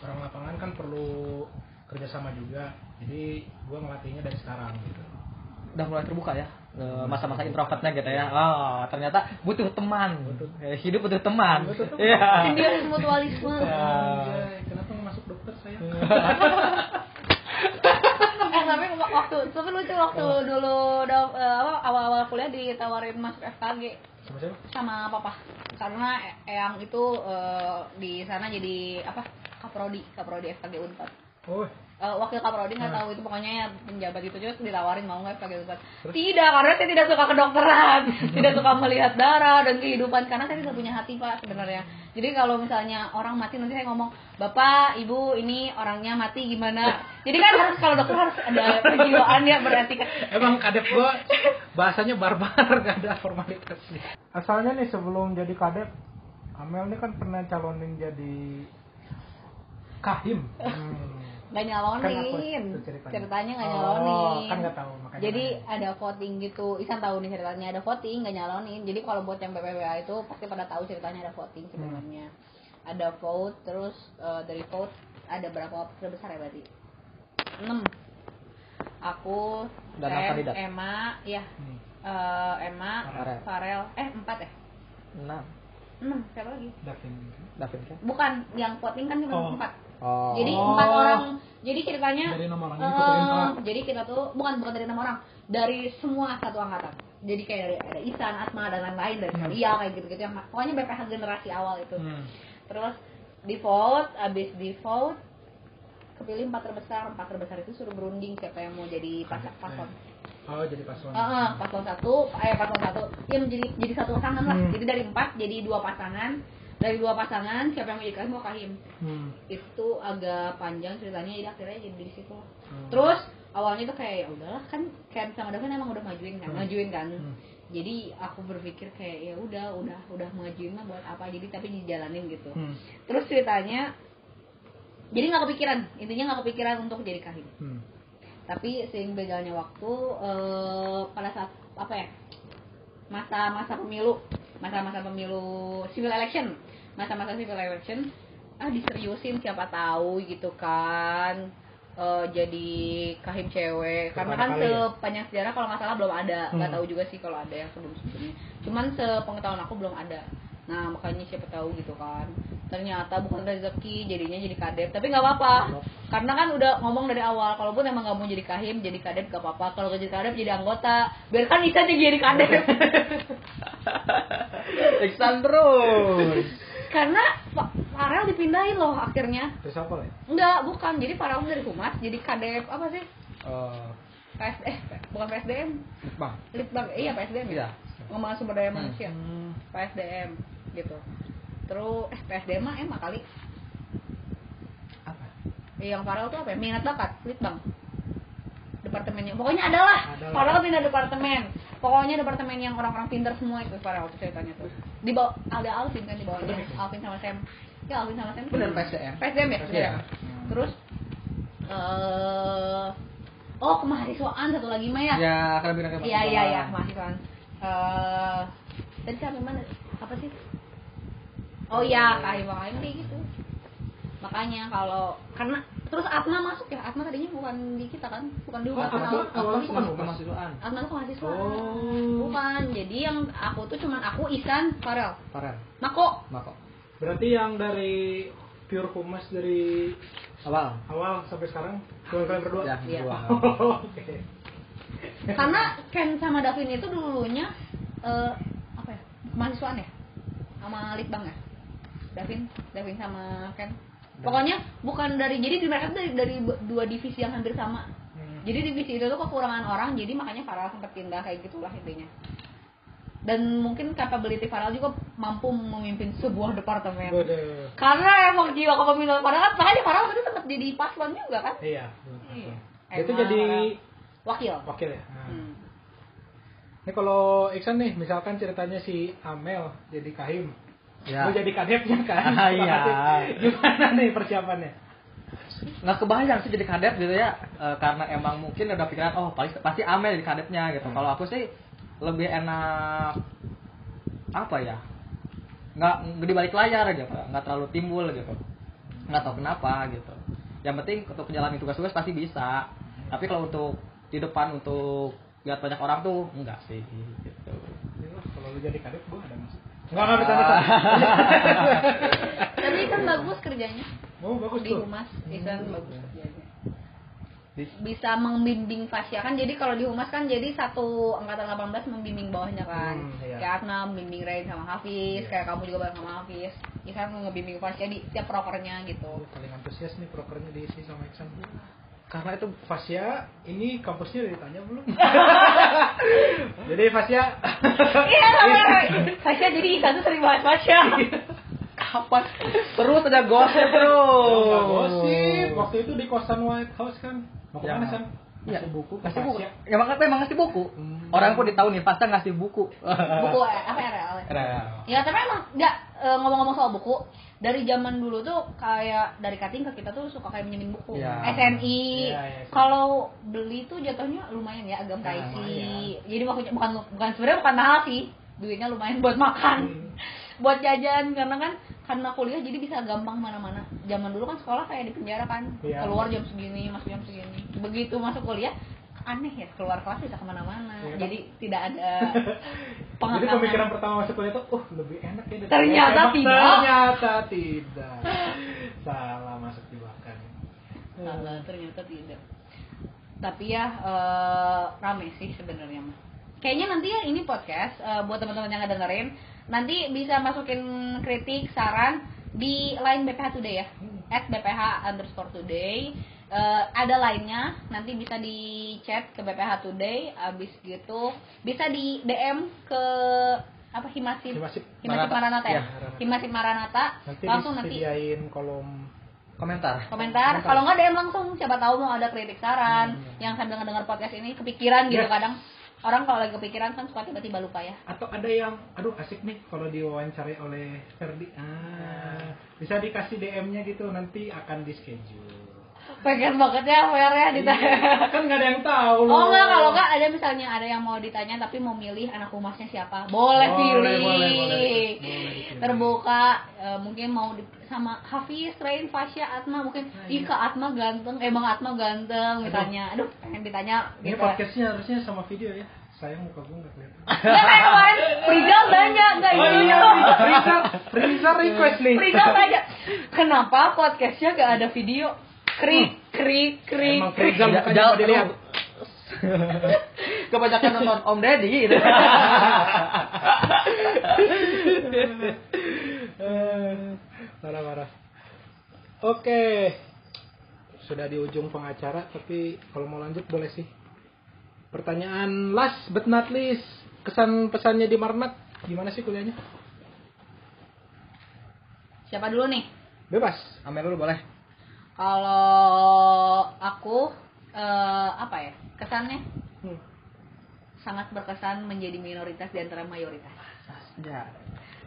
[SPEAKER 1] orang lapangan kan perlu kerjasama juga jadi gue ngelatihnya dari sekarang gitu
[SPEAKER 2] Udah mulai terbuka ya e, masa-masa introvertnya gitu ya. Oh, ternyata butuh teman.
[SPEAKER 1] Butuh.
[SPEAKER 2] Eh, Hidup butuh teman.
[SPEAKER 1] Butuh teman.
[SPEAKER 2] Iya.
[SPEAKER 3] Simbiosis mutualisme.
[SPEAKER 1] Ya. Anjay, kenapa nggak masuk dokter saya
[SPEAKER 3] eh tapi waktu tapi lucu waktu dulu do- eh, apa, awal-awal kuliah ditawarin masuk FKG
[SPEAKER 1] sama siapa
[SPEAKER 3] sama papa karena e- eyang itu eh, di sana jadi apa kaprodi kaprodi FKG Unpad
[SPEAKER 1] oh
[SPEAKER 3] Eh, wakil kaprodi nggak
[SPEAKER 1] Nah.
[SPEAKER 3] tahu itu pokoknya ya penjabat itu terus ditawarin mau nggak FKG Unpad tidak karena saya tidak suka kedokteran tidak suka melihat darah dan kehidupan karena saya tidak punya hati pak sebenarnya jadi kalau misalnya orang mati nanti saya ngomong bapak ibu ini orangnya mati gimana jadi kan harus kalau dokter harus ada kejiwaan ya berarti kan
[SPEAKER 1] Emang kadep gua bahasanya barbar, gak ada formalitasnya. Asalnya nih sebelum jadi kadep, Amel ini kan pernah calonin jadi kahim.
[SPEAKER 3] nggak
[SPEAKER 1] Kan aku
[SPEAKER 3] nyalonin
[SPEAKER 1] itu ceritanya.
[SPEAKER 3] ceritanya nggak
[SPEAKER 1] Oh,
[SPEAKER 3] nyalonin
[SPEAKER 1] kan nggak tahu, makanya
[SPEAKER 3] jadi
[SPEAKER 1] nanya.
[SPEAKER 3] ada voting gitu Isan tahu nih ceritanya ada voting nggak nyalonin jadi kalau buat yang PPWA itu pasti pada tahu ceritanya ada voting
[SPEAKER 1] Hmm.
[SPEAKER 3] sebenarnya ada vote terus eh, dari vote ada berapa terbesar ya berarti enam aku
[SPEAKER 2] Dan
[SPEAKER 3] Sam,
[SPEAKER 2] kandidat.
[SPEAKER 3] Emma ya
[SPEAKER 1] Hmm.
[SPEAKER 3] eh, Emma
[SPEAKER 2] Farel.
[SPEAKER 3] Farel eh empat eh
[SPEAKER 2] Nah,
[SPEAKER 3] enam siapa lagi
[SPEAKER 1] Davin.
[SPEAKER 2] David kan?
[SPEAKER 3] bukan yang voting kan cuma
[SPEAKER 1] Oh.
[SPEAKER 3] empat
[SPEAKER 2] Oh.
[SPEAKER 3] jadi
[SPEAKER 1] Oh.
[SPEAKER 3] empat orang jadi ceritanya
[SPEAKER 1] Dari enam orang
[SPEAKER 3] eh,
[SPEAKER 1] itu tuh yang empat.
[SPEAKER 3] jadi kita tuh bukan bukan dari enam orang dari semua satu angkatan jadi kayak dari ada Isan, Atma dan lain-lain dari
[SPEAKER 1] Hmm.
[SPEAKER 3] Maria kayak gitu-gitu yang pokoknya BPH generasi awal itu
[SPEAKER 1] Hmm.
[SPEAKER 3] terus di vote abis di vote kepilih empat terbesar empat terbesar itu suruh berunding siapa yang mau jadi pas paslon
[SPEAKER 1] Oh, jadi paslon.
[SPEAKER 3] Eh, eh, paslon satu eh paslon satu ya jadi jadi satu pasangan lah
[SPEAKER 1] Hmm.
[SPEAKER 3] jadi dari empat jadi dua pasangan dari dua pasangan siapa yang mau jadi kahim mau kahim
[SPEAKER 1] Hmm.
[SPEAKER 3] itu agak panjang ceritanya jadi akhirnya jadi di situ lah.
[SPEAKER 1] Hmm.
[SPEAKER 3] terus awalnya tuh kayak ya udahlah kan Ken sama Davin emang udah majuin kan
[SPEAKER 1] Hmm.
[SPEAKER 3] majuin kan
[SPEAKER 1] Hmm.
[SPEAKER 3] jadi aku berpikir kayak ya udah udah udah majuin mah buat apa jadi tapi dijalanin gitu
[SPEAKER 1] Hmm.
[SPEAKER 3] terus ceritanya jadi nggak kepikiran intinya nggak kepikiran untuk jadi kahim
[SPEAKER 1] Hmm.
[SPEAKER 3] tapi seiring berjalannya waktu eh, pada saat apa ya masa-masa pemilu masa-masa pemilu civil election masa-masa civil election ah diseriusin siapa tahu gitu kan Eh, jadi kahim cewek karena kan
[SPEAKER 1] Pertama kali ya?
[SPEAKER 3] sepanjang sejarah kalau masalah belum ada nggak
[SPEAKER 1] Hmm.
[SPEAKER 3] tahu juga sih kalau ada yang sebelum sebelumnya cuman sepengetahuan aku belum ada nah makanya siapa tahu gitu kan ternyata bukan rezeki jadinya jadi kadep tapi nggak apa-apa karena kan udah ngomong dari awal kalaupun emang nggak mau jadi kahim jadi kadep gak apa-apa kalau nggak jadi kadep jadi anggota biarkan Isan yang jadi kadep
[SPEAKER 2] Iksan terus.
[SPEAKER 3] karena Fa- Farel dipindahin loh akhirnya
[SPEAKER 1] Terus apa lah? ya?
[SPEAKER 3] Enggak, bukan. Jadi Farel dari humas jadi kadep apa sih?
[SPEAKER 2] Eh,
[SPEAKER 3] PS eh bukan PSDM.
[SPEAKER 2] Bang.
[SPEAKER 3] Litbang. Eh, iya PSDM
[SPEAKER 2] Iya.
[SPEAKER 3] ya. Pengembangan sumber daya
[SPEAKER 2] Hmm.
[SPEAKER 3] manusia. PSDM gitu. Terus eh PSDM mah emak kali.
[SPEAKER 2] Apa?
[SPEAKER 3] Eh, yang Farel tuh apa ya? Minat bakat, Litbang. Departemennya. Pokoknya adalah.
[SPEAKER 1] Adalah.
[SPEAKER 3] Farel pindah departemen. Pokoknya departemen yang orang-orang pintar semua itu Farel tuh ceritanya tuh. Di bawah ada Alvin kan di bawahnya. Alvin sama Sam. Ya Alvin sama Sam.
[SPEAKER 2] Bener PSDM.
[SPEAKER 3] PSDM ya?
[SPEAKER 2] Iya.
[SPEAKER 3] Bener. Terus eh oh kemahasiswaan satu lagi Maya.
[SPEAKER 2] Ya, kalau bilang kayak
[SPEAKER 3] Iya iya iya
[SPEAKER 2] Bang.
[SPEAKER 3] kemahasiswaan. Eh Oh,
[SPEAKER 1] iya.
[SPEAKER 3] tadi sampai mana? Apa sih? Oh iya kahim kahim kayak gitu. makanya kalau karena terus Atma masuk ya Atma tadinya bukan di kita kan bukan di
[SPEAKER 1] Oh,
[SPEAKER 3] Umat
[SPEAKER 1] Atma
[SPEAKER 3] awal.
[SPEAKER 1] tuh awalnya bukan Humas.
[SPEAKER 2] kemahasiswaan
[SPEAKER 3] Atma tuh mahasiswa
[SPEAKER 1] Oh.
[SPEAKER 3] bukan jadi yang aku tuh cuman aku Isan Farel Nah,
[SPEAKER 2] Farel
[SPEAKER 3] Mako
[SPEAKER 2] Mako
[SPEAKER 1] Berarti yang dari pure humas dari
[SPEAKER 2] awal
[SPEAKER 1] awal sampai sekarang cuma kalian berdua.
[SPEAKER 2] ya
[SPEAKER 3] Iya.
[SPEAKER 2] dua
[SPEAKER 1] Oke.
[SPEAKER 3] karena Ken sama Davin itu dulunya eh, apa ya mahasiswaan ya sama Litbang ya Davin Davin sama Ken pokoknya bukan dari jadi mereka tuh dari dari dua divisi yang hampir sama
[SPEAKER 1] Hmm.
[SPEAKER 3] jadi divisi itu tuh kekurangan orang jadi makanya Farel sempat pindah kayak gitulah intinya dan mungkin capability Farel juga mampu memimpin sebuah departemen
[SPEAKER 1] Gode.
[SPEAKER 3] karena emang jiwa kepemimpinan Farel kan makanya Farel waktu itu sempat jadi paslon juga kan
[SPEAKER 1] Iya.
[SPEAKER 3] Iya.
[SPEAKER 1] Itu
[SPEAKER 3] Emang
[SPEAKER 1] jadi
[SPEAKER 3] wakil
[SPEAKER 1] wakil ya. Nah.
[SPEAKER 3] Hmm.
[SPEAKER 1] Ini kalau Iksan nih, misalkan ceritanya si Amel jadi Kahim, mau
[SPEAKER 2] ya
[SPEAKER 1] jadi kadepnya kan?
[SPEAKER 2] Ah, iya.
[SPEAKER 1] Gimana nih persiapannya?
[SPEAKER 2] nggak kebayang sih jadi kadep gitu ya E, karena emang mungkin ada pikiran oh pasti pasti Amel jadi kadepnya gitu
[SPEAKER 1] Hmm.
[SPEAKER 2] kalau aku sih lebih enak apa ya nggak nggak di balik layar aja Pak. nggak terlalu timbul gitu nggak tahu kenapa gitu yang penting untuk menjalani tugas-tugas pasti bisa
[SPEAKER 1] Hmm.
[SPEAKER 2] tapi kalau untuk di depan untuk lihat banyak orang tuh enggak sih gitu
[SPEAKER 1] Ya lah, Kalau lu jadi kadep, gua ada mas. Enggak nggak
[SPEAKER 2] Ah.
[SPEAKER 1] bisa bisa.
[SPEAKER 3] tapi kan bagus kerjanya
[SPEAKER 1] Oh bagus
[SPEAKER 3] di
[SPEAKER 1] tuh.
[SPEAKER 3] humas Isan bagus kerjanya
[SPEAKER 2] Di-
[SPEAKER 3] bisa membimbing Fasya kan jadi kalau di humas kan jadi satu angkatan 18 membimbing bawahnya kan
[SPEAKER 1] Hmm, iya.
[SPEAKER 3] kayak Atna membimbing Rain sama Hafiz
[SPEAKER 1] Iya.
[SPEAKER 3] kayak kamu juga bareng sama Hafiz Isan ngebimbing Fasya di setiap prokernya gitu
[SPEAKER 1] Oh, paling antusias nih prokernya diisi sama Iksan.
[SPEAKER 2] karena itu
[SPEAKER 1] Fasya, ini kampusnya udah ditanya belum? Jadi Fasya,
[SPEAKER 3] iya sama Fasya jadi Isan tuh sering banget Fasya
[SPEAKER 1] Iya.
[SPEAKER 2] kapan terus ada gosip terus
[SPEAKER 1] oh, gosip. Waktu itu di kosan White House kan. Mau
[SPEAKER 2] Ya.
[SPEAKER 1] kemana San?
[SPEAKER 2] Ya.
[SPEAKER 3] Iya.
[SPEAKER 1] Kasih buku ke
[SPEAKER 2] Ngasih buku. ya?
[SPEAKER 1] Fasya.
[SPEAKER 2] Emang apa emang ngasih buku?
[SPEAKER 1] Hmm.
[SPEAKER 2] Orang pun ditahu nih pasti ngasih buku. Nah,
[SPEAKER 3] buku eh, apa RL ya?
[SPEAKER 2] Keren.
[SPEAKER 3] Ya tapi emang nggak e, ngomong-ngomong soal buku dari zaman dulu tuh kayak dari cutting ke kita tuh suka kayak minjemin buku
[SPEAKER 2] Iya.
[SPEAKER 3] SNI
[SPEAKER 1] Ya. Iya, iya.
[SPEAKER 3] kalau beli tuh jatuhnya lumayan ya agam
[SPEAKER 2] Nah,
[SPEAKER 3] kaisi
[SPEAKER 1] lumayan.
[SPEAKER 3] jadi maksudnya bukan bukan sebenarnya bukan mahal sih duitnya lumayan buat makan
[SPEAKER 1] Hmm.
[SPEAKER 3] buat jajan karena kan karena kuliah jadi bisa gampang mana-mana zaman dulu kan sekolah kayak di penjara kan
[SPEAKER 1] Iya.
[SPEAKER 3] keluar jam segini masuk jam segini begitu masuk kuliah aneh ya keluar kelas bisa kemana-mana
[SPEAKER 1] Iya.
[SPEAKER 3] jadi tidak ada
[SPEAKER 1] Jadi
[SPEAKER 3] pengakangan.
[SPEAKER 1] pemikiran pertama masuk kuliah tuh, oh lebih enak ya daripada
[SPEAKER 3] Ternyata
[SPEAKER 1] SMA.
[SPEAKER 3] tidak.
[SPEAKER 1] Ternyata tidak. Salah masuk jebakan.
[SPEAKER 3] Salah, Nah, ternyata tidak. Tapi ya eh, rame sih sebenarnya mah. Kayaknya nanti ya ini podcast eh, buat teman-teman yang ngedengerin nanti bisa masukin kritik, saran di line BPH Today ya. At BPH underscore today. Eh, ada lainnya nanti bisa di chat ke BPH Today abis gitu bisa di DM ke apa Himasip
[SPEAKER 1] Himasip
[SPEAKER 3] Himasip
[SPEAKER 2] Maranata.
[SPEAKER 3] Maranata ya
[SPEAKER 2] Ya,
[SPEAKER 1] Maranata.
[SPEAKER 3] Himasip Maranata
[SPEAKER 1] Nanti ya.
[SPEAKER 3] langsung nanti
[SPEAKER 1] disediain kolom
[SPEAKER 2] Komentar.
[SPEAKER 3] komentar kalau nggak DM langsung siapa tahu mau ada kritik saran
[SPEAKER 1] Hmm, iya.
[SPEAKER 3] yang sambil ngedenger podcast ini kepikiran gitu
[SPEAKER 1] Yes.
[SPEAKER 3] kadang orang kalau lagi kepikiran kan suka tiba-tiba lupa ya
[SPEAKER 1] atau ada yang aduh asik nih kalau diwawancarai oleh Ferdi ah bisa dikasih DM-nya gitu nanti akan di schedule
[SPEAKER 3] pengen banget ya PR ya ditanya
[SPEAKER 1] kan nggak ada yang tahu
[SPEAKER 3] oh
[SPEAKER 1] loh.
[SPEAKER 3] nggak kalau nggak ada misalnya ada yang mau ditanya tapi mau milih anak humasnya siapa
[SPEAKER 1] Boleh,
[SPEAKER 3] boleh,
[SPEAKER 1] boleh,
[SPEAKER 3] pilih
[SPEAKER 1] boleh. Boleh dipilih.
[SPEAKER 3] terbuka eh, mungkin mau di- sama Hafiz, Rain, Fasya, Atma mungkin
[SPEAKER 1] Ah, iya.
[SPEAKER 3] ih Kak Atma ganteng, emang Atma ganteng misalnya aduh pengen ditanya
[SPEAKER 1] ini
[SPEAKER 3] gitu.
[SPEAKER 1] podcastnya harusnya sama video ya sayang muka gue nggak kelihatan
[SPEAKER 3] Nggak, kayak kemarin Rizal nanya, nggak
[SPEAKER 1] oh
[SPEAKER 3] ini
[SPEAKER 1] iya
[SPEAKER 3] loh.
[SPEAKER 1] Riza Riza request nih
[SPEAKER 3] Rizal tanya, kenapa podcastnya gak ada video? Krik, krik, krik,
[SPEAKER 1] Hmm. emang Riza
[SPEAKER 3] krik.
[SPEAKER 2] Jangan-
[SPEAKER 1] mukanya
[SPEAKER 2] jangan
[SPEAKER 1] mau dilihat
[SPEAKER 2] dulu. Kebanyakan nonton Om Deddy gitu.
[SPEAKER 1] Eh, marah marah oke sudah di ujung pengacara tapi kalau mau lanjut boleh sih pertanyaan last but not least kesan pesannya di Marnak gimana sih kuliahnya
[SPEAKER 3] Siapa dulu nih?
[SPEAKER 1] bebas
[SPEAKER 2] Amel dulu boleh.
[SPEAKER 3] Kalau aku, eh, apa ya, kesannya
[SPEAKER 1] Hmm.
[SPEAKER 3] sangat berkesan menjadi minoritas di antara mayoritas.
[SPEAKER 2] Ya.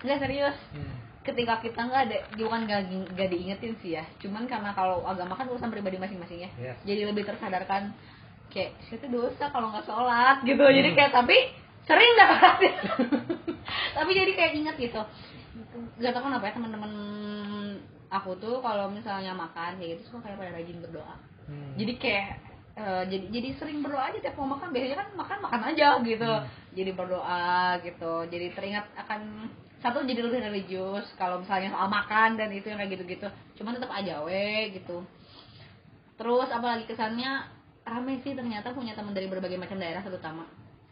[SPEAKER 3] Enggak serius,
[SPEAKER 1] Hmm.
[SPEAKER 3] ketika kita nggak ada bukan nggak nggak diingetin sih ya cuman karena kalau agama kan urusan pribadi masing-masing ya
[SPEAKER 1] Yes.
[SPEAKER 3] jadi lebih tersadarkan kayak saya tuh dosa kalau nggak sholat gitu jadi kayak tapi sering nggak sholat tapi jadi kayak inget gitu nggak tahu kenapa ya teman-teman aku tuh kalau misalnya makan kayak gitu suka kayak pada rajin berdoa
[SPEAKER 1] Hmm.
[SPEAKER 3] jadi kayak eh, jadi jadi sering berdoa aja tiap mau makan biasanya kan makan makan aja gitu jadi berdoa gitu jadi teringat akan satu jadi lebih religius kalau misalnya soal makan dan itu yang kayak gitu-gitu cuman tetap aja we gitu terus apalagi kesannya rame sih ternyata punya teman dari berbagai macam daerah terutama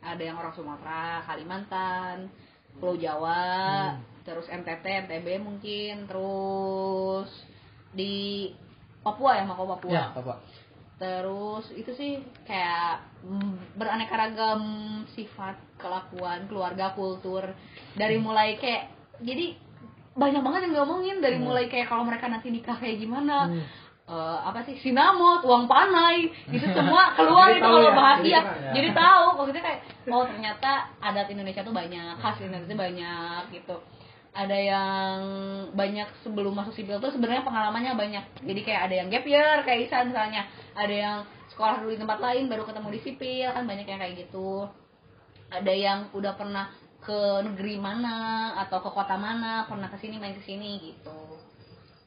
[SPEAKER 3] ada yang orang Sumatera Kalimantan Pulau Jawa terus NTT NTB mungkin terus di Papua ya Mako Papua
[SPEAKER 2] Ya, Bapak.
[SPEAKER 3] terus itu sih kayak mm, beraneka ragam sifat kelakuan keluarga kultur dari mulai kayak jadi banyak banget yang ngomongin dari mulai kayak kalau mereka nanti nikah kayak gimana eh, apa sih sinamot uang panai itu semua keluar
[SPEAKER 1] Jadi
[SPEAKER 3] itu
[SPEAKER 1] tahu
[SPEAKER 3] kalau
[SPEAKER 1] ya,
[SPEAKER 3] bahas
[SPEAKER 1] jadi
[SPEAKER 3] iya
[SPEAKER 1] kenal ya.
[SPEAKER 3] jadi tahu kalau kita kayak oh ternyata adat Indonesia tuh banyak khas Indonesia banyak gitu ada yang banyak sebelum masuk sipil tuh sebenarnya pengalamannya banyak jadi kayak ada yang gap year kayak Isan misalnya ada yang sekolah dulu di tempat lain baru ketemu di sipil kan banyak yang kayak gitu ada yang udah pernah ke negeri mana atau ke kota mana pernah ke sini main ke sini gitu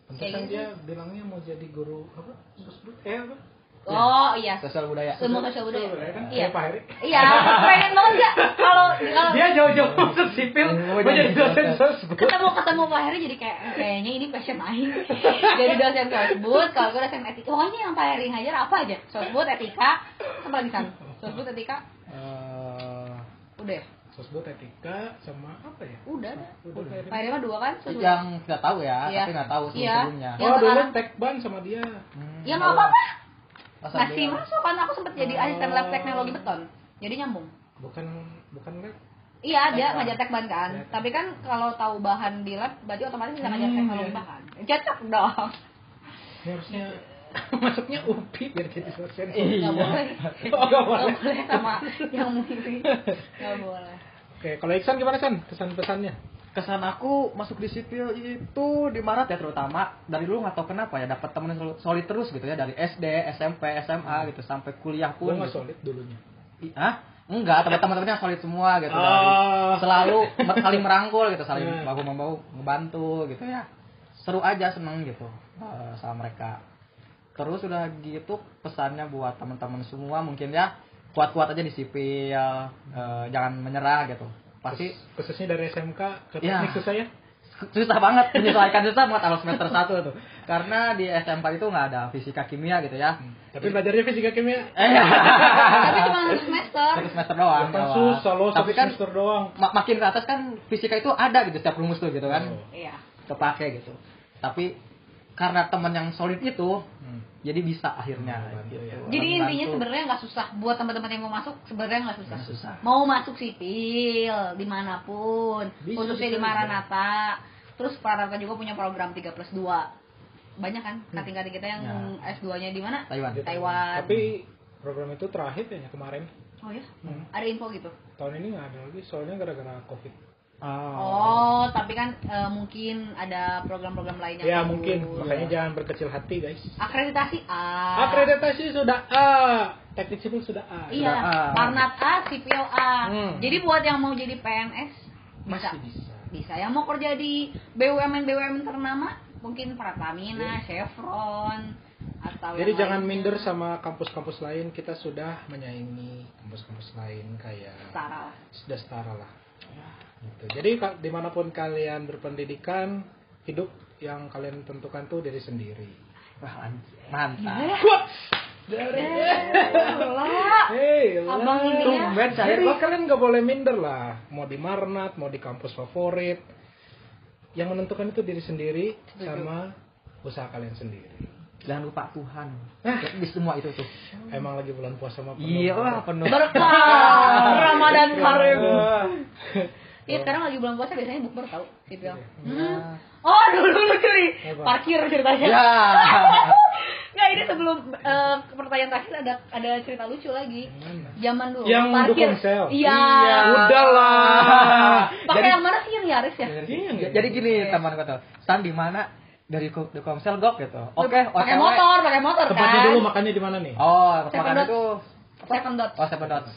[SPEAKER 1] Pantesan
[SPEAKER 3] Kayak gitu.
[SPEAKER 1] dia bilangnya mau jadi guru apa? Sosbud? Eh apa?
[SPEAKER 3] oh iya
[SPEAKER 2] Sosial budaya.
[SPEAKER 3] ilmu sosial budaya
[SPEAKER 1] Sosial budaya kan?
[SPEAKER 3] iya
[SPEAKER 1] Kayak Pak Heri.
[SPEAKER 3] iya pengen banget nggak kalau kalau
[SPEAKER 1] Dia jauh-jauh masuk sipil,
[SPEAKER 2] Mau
[SPEAKER 1] mau
[SPEAKER 2] jadi
[SPEAKER 1] jadi dosen
[SPEAKER 2] dosen.
[SPEAKER 1] sosbud.
[SPEAKER 3] ketemu ketemu Pak Heri jadi kayak kayaknya ini passion aing jadi dosen sosbud kalau gue dosen etika pokoknya yang Pak Heri ngajar apa aja sosbud etika apa lagi kan sosbud etika
[SPEAKER 1] Eh,
[SPEAKER 3] udah ya?
[SPEAKER 1] Sosbud etika sama apa ya?
[SPEAKER 3] udah dah.
[SPEAKER 1] Udah Pak Heri.
[SPEAKER 3] Pak Heri mah dua kan sosbud
[SPEAKER 2] Yang kita tahu ya,
[SPEAKER 3] Iya.
[SPEAKER 2] tapi nggak tahu
[SPEAKER 3] Iya.
[SPEAKER 2] sebelumnya.
[SPEAKER 3] Yang
[SPEAKER 1] Oh dulu
[SPEAKER 3] sekarang.
[SPEAKER 1] tekban sama dia.
[SPEAKER 2] Hmm.
[SPEAKER 3] ya nggak apa-apa
[SPEAKER 2] Masa
[SPEAKER 3] masih
[SPEAKER 2] dia-
[SPEAKER 3] masuk kan aku sempet jadi asisten lab
[SPEAKER 1] Oh.
[SPEAKER 3] teknologi beton jadi nyambung
[SPEAKER 1] Bukan bukan lab.
[SPEAKER 3] Iya, dia
[SPEAKER 1] Tekban.
[SPEAKER 3] ngajar tekban kan.
[SPEAKER 1] Iya.
[SPEAKER 3] Tapi kan kalau tahu bahan di lab, berarti otomatis bisa ngajar
[SPEAKER 1] Hmm,
[SPEAKER 3] teknologi
[SPEAKER 1] iya.
[SPEAKER 3] bahan. Cocok dong.
[SPEAKER 1] Ini harusnya masuknya UPI biar jadi dosen.
[SPEAKER 2] Iya.
[SPEAKER 3] Nggak boleh.
[SPEAKER 1] Oh, nggak boleh.
[SPEAKER 3] Nggak boleh sama yang mungkin. Nggak boleh.
[SPEAKER 1] Oke, kalau Iksan gimana San? Kesan pesannya?
[SPEAKER 2] kesan aku masuk di sipil itu di Maret ya terutama dari dulu nggak tahu kenapa ya dapat temen yang selalu solid terus gitu ya dari SD SMP SMA gitu sampai kuliah
[SPEAKER 1] Gue
[SPEAKER 2] pun
[SPEAKER 1] nggak
[SPEAKER 2] gitu.
[SPEAKER 1] solid dulunya.
[SPEAKER 2] I- Hah? enggak tapi teman-temannya solid semua gitu dari
[SPEAKER 1] Ah.
[SPEAKER 2] selalu mer- saling merangkul gitu saling
[SPEAKER 1] Hmm.
[SPEAKER 2] bahu membahu ngebantu gitu ya seru aja seneng gitu eh, sama mereka terus udah gitu pesannya buat teman-teman semua mungkin ya kuat-kuat aja di sipil eh, jangan menyerah gitu pasti
[SPEAKER 1] Khusus- khususnya dari SMK ke
[SPEAKER 2] Iya.
[SPEAKER 1] teknik susah ya?
[SPEAKER 2] susah banget menyesuaikan susah banget awal semester 1 tuh karena di SMK itu nggak ada fisika kimia gitu ya
[SPEAKER 1] Tapi belajarnya fisika kimia
[SPEAKER 2] eh
[SPEAKER 3] Tapi cuma satu semester.
[SPEAKER 2] satu semester doang
[SPEAKER 1] Bukan
[SPEAKER 2] doang.
[SPEAKER 1] Iya, susah loh,
[SPEAKER 2] tapi kan
[SPEAKER 1] semester doang.
[SPEAKER 2] ma- makin ke atas kan fisika itu ada gitu setiap rumus tuh gitu kan
[SPEAKER 1] Oh.
[SPEAKER 3] Iya.
[SPEAKER 2] kepake gitu tapi karena teman yang solid itu
[SPEAKER 1] Hmm.
[SPEAKER 2] jadi bisa akhirnya
[SPEAKER 1] Membantu,
[SPEAKER 2] gitu.
[SPEAKER 1] ya.
[SPEAKER 3] Jadi
[SPEAKER 2] Membantu.
[SPEAKER 3] intinya sebenarnya nggak susah buat teman-teman yang mau masuk sebenarnya nggak susah.
[SPEAKER 2] Nggak susah.
[SPEAKER 3] Mau masuk sipil dimanapun,
[SPEAKER 1] Bisa
[SPEAKER 3] khususnya di
[SPEAKER 1] diterima.
[SPEAKER 3] Maranata. Terus Maranata juga punya program 3 plus 2 banyak kan
[SPEAKER 1] Hmm.
[SPEAKER 3] kating-kating kita yang
[SPEAKER 2] Ya.
[SPEAKER 3] S2-nya di mana?
[SPEAKER 2] Taiwan
[SPEAKER 1] Di
[SPEAKER 3] Taiwan.
[SPEAKER 1] Tapi program itu terakhir ya kemarin.
[SPEAKER 3] Oh ya,
[SPEAKER 1] Hmm.
[SPEAKER 3] ada info gitu.
[SPEAKER 1] Tahun ini nggak ada lagi, soalnya gara-gara COVID.
[SPEAKER 3] Oh, tapi kan eh, mungkin ada program-program lain yang
[SPEAKER 1] Ya
[SPEAKER 3] baru.
[SPEAKER 1] mungkin, makanya
[SPEAKER 2] Iya.
[SPEAKER 1] jangan berkecil hati guys.
[SPEAKER 3] Akreditasi A.
[SPEAKER 1] Akreditasi sudah A, teknik sipil sudah A.
[SPEAKER 3] Iya,
[SPEAKER 2] Sudah A.
[SPEAKER 3] Parnat A, Sipil A.
[SPEAKER 1] Hmm.
[SPEAKER 3] Jadi buat yang mau jadi PNS bisa.
[SPEAKER 1] Masih bisa.
[SPEAKER 3] Bisa yang mau kerja di BUMN BUMN ternama, mungkin Pertamina, Chevron atau
[SPEAKER 1] Jadi
[SPEAKER 3] yang
[SPEAKER 1] jangan
[SPEAKER 3] lainnya.
[SPEAKER 1] minder sama kampus-kampus lain, kita sudah menyaingi kampus-kampus lain kayak
[SPEAKER 3] setara lah.
[SPEAKER 1] sudah setara lah. Gitu. Jadi ka- dimanapun kalian berpendidikan, hidup yang kalian tentukan tuh diri sendiri.
[SPEAKER 2] Wah, anjir. mantap
[SPEAKER 3] Eh, Lah.
[SPEAKER 1] Hey,
[SPEAKER 3] Abang ini ya.
[SPEAKER 1] tumben cair lo kalian nggak boleh minder lah. Mau di Marnat, mau di kampus favorit. Yang menentukan itu diri sendiri
[SPEAKER 3] Setuju.
[SPEAKER 1] sama usaha kalian sendiri.
[SPEAKER 2] jangan lupa Tuhan di semua itu tuh
[SPEAKER 1] Emang lagi bulan puasa sama
[SPEAKER 2] iya wah penuh
[SPEAKER 3] Berkah Ramadan Karim. Iya sekarang lagi bulan puasa biasanya bukber tau
[SPEAKER 1] Iya.
[SPEAKER 3] Sipil. Hmm. Oh dulu lucu nih
[SPEAKER 1] Apa?
[SPEAKER 3] parkir ceritanya.
[SPEAKER 2] ya
[SPEAKER 3] Nggak ini sebelum eh, pertanyaan terakhir ada ada cerita lucu lagi. Zaman dulu
[SPEAKER 1] Yang
[SPEAKER 3] parkir.
[SPEAKER 1] dukung sel.
[SPEAKER 3] Iya.
[SPEAKER 2] Iya.
[SPEAKER 1] Udahlah.
[SPEAKER 3] Pakai yang mana sih yang Yaris ya?
[SPEAKER 2] Iya, jadi gini teman gue tuh, San di mana dari Ko- dari Komsel gok gitu. Oke,
[SPEAKER 3] pakai
[SPEAKER 2] OTW.
[SPEAKER 3] motor, pakai motor
[SPEAKER 1] tempatnya
[SPEAKER 3] kan.
[SPEAKER 1] dulu makannya di mana nih?
[SPEAKER 2] Oh,
[SPEAKER 3] Seven
[SPEAKER 2] makan
[SPEAKER 3] Dots.
[SPEAKER 2] itu.
[SPEAKER 3] Second dot.
[SPEAKER 2] Oh, Seven Dots.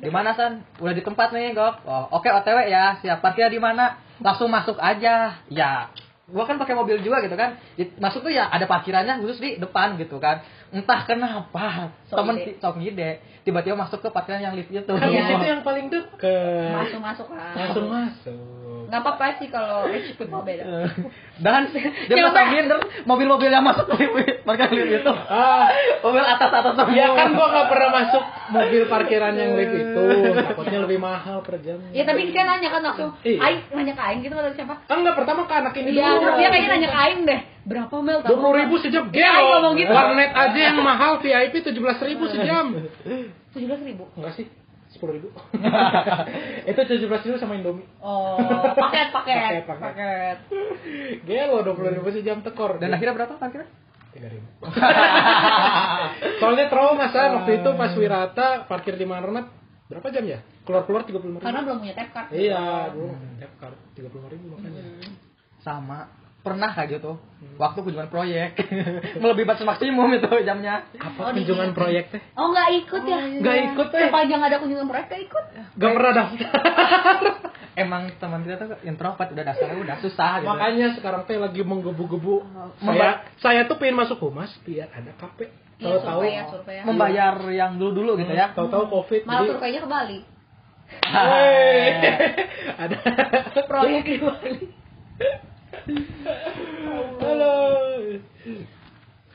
[SPEAKER 2] Di mana San? Udah di tempat nih gok. Oh, oke OTW ya. Siap parkir di mana? Langsung masuk aja. Ya, gua kan pakai mobil juga gitu kan Di- masuk tuh ya ada parkirannya khusus di depan gitu kan entah kenapa
[SPEAKER 3] Sok
[SPEAKER 2] temen
[SPEAKER 3] ide.
[SPEAKER 2] ti- sok ide tiba-tiba masuk ke parkiran yang lift itu
[SPEAKER 1] Kan di
[SPEAKER 3] Iya.
[SPEAKER 1] situ yang paling deket.
[SPEAKER 3] masuk masuk lah
[SPEAKER 1] Langsung masuk.
[SPEAKER 3] nggak apa-apa sih kalau age people beda
[SPEAKER 2] Eh, dan dia
[SPEAKER 3] Coba.
[SPEAKER 2] merasa minder mobil-mobil yang masuk ke lift- parkiran Iya lift Nah, itu
[SPEAKER 1] Ah,
[SPEAKER 2] mobil atas atas semua
[SPEAKER 1] ya kan gua nggak pernah masuk mobil parkiran yang lift itu.
[SPEAKER 2] Iya.
[SPEAKER 1] Takutnya lebih mahal per jamnya.
[SPEAKER 3] ya tapi kita nanya kan langsung
[SPEAKER 1] Iya.
[SPEAKER 3] Aing nanya ke Aing gitu atau siapa
[SPEAKER 1] Kan nggak pertama ke anak ini
[SPEAKER 3] Iya,
[SPEAKER 1] dulu.
[SPEAKER 3] terus dia kayaknya nanya ke Aing deh, berapa mel
[SPEAKER 1] dua puluh ribu sejam
[SPEAKER 3] Iya,
[SPEAKER 1] gelo.
[SPEAKER 3] ngomong gitu.
[SPEAKER 1] Warnet aja yang mahal VIP tujuh belas ribu sejam.
[SPEAKER 3] Tujuh belas ribu.
[SPEAKER 1] Enggak sih, sepuluh ribu. itu tujuh belas ribu sama Indomie.
[SPEAKER 3] Oh, paket, paket,
[SPEAKER 1] Paket, paket.
[SPEAKER 3] paket.
[SPEAKER 1] Gelo dua puluh ribu sejam tekor.
[SPEAKER 2] dan akhirnya berapa parkiran
[SPEAKER 1] tiga ribu. Soalnya trauma saya waktu itu pas Wirata parkir di Marnet berapa jam ya? Keluar keluar tiga puluh
[SPEAKER 3] Karena
[SPEAKER 1] ribu.
[SPEAKER 3] belum punya tap card. Hmm.
[SPEAKER 1] Iya, dulu tiga puluh ribu makanya.
[SPEAKER 2] sama pernah kayak gitu waktu kunjungan proyek melebihi batas maksimum itu jamnya
[SPEAKER 1] Apa
[SPEAKER 3] Oh, di-
[SPEAKER 1] kunjungan proyek teh?
[SPEAKER 3] Oh, nggak ikut ya?
[SPEAKER 1] Nggak ikut, eh.
[SPEAKER 3] Sepanjang ada kunjungan proyek nggak ikut.
[SPEAKER 1] Gak pernah daftar.
[SPEAKER 2] emang teman kita tuh introvert udah dasarnya udah susah gitu
[SPEAKER 1] Ah, Makanya sekarang teh lagi
[SPEAKER 3] Oh,
[SPEAKER 1] menggebu-gebu.
[SPEAKER 2] Memba-
[SPEAKER 1] Saya saya tuh pengen masuk humas biar ada KP.
[SPEAKER 3] Iya,
[SPEAKER 1] Tahu-tahu Iya,
[SPEAKER 3] survei ya, survei ya.
[SPEAKER 2] membayar yang dulu dulu gitu ya
[SPEAKER 1] Tahu-tahu Covid.
[SPEAKER 3] Malah
[SPEAKER 1] jadi-
[SPEAKER 3] surveinya ke Bali.
[SPEAKER 1] Wey. ada
[SPEAKER 3] Proyek
[SPEAKER 1] Iya.
[SPEAKER 3] di Bali.
[SPEAKER 1] Halo.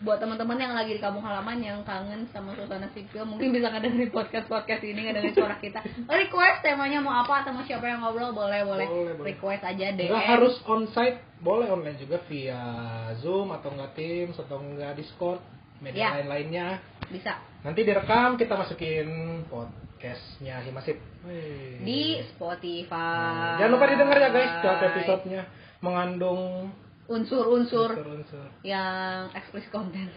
[SPEAKER 3] Buat teman-teman yang lagi di kampung halaman yang kangen sama suasana sipil, mungkin bisa ngedengerin podcast-podcast ini, ngedengerin suara kita. Request temanya mau apa atau mau siapa yang ngobrol, boleh, boleh.
[SPEAKER 1] Boleh, boleh.
[SPEAKER 3] Request aja deh.
[SPEAKER 1] Enggak harus onsite, boleh online juga via Zoom atau enggak Teams atau enggak Discord, media
[SPEAKER 3] Ya.
[SPEAKER 1] lain-lainnya.
[SPEAKER 3] Bisa.
[SPEAKER 1] Nanti direkam kita masukin podcastnya Himasip. Wey.
[SPEAKER 3] Di Spotify.
[SPEAKER 1] Jangan lupa didengar ya guys, setiap episodenya mengandung
[SPEAKER 3] Unsur-unsur
[SPEAKER 1] unsur-unsur.
[SPEAKER 3] yang eksplisit konten.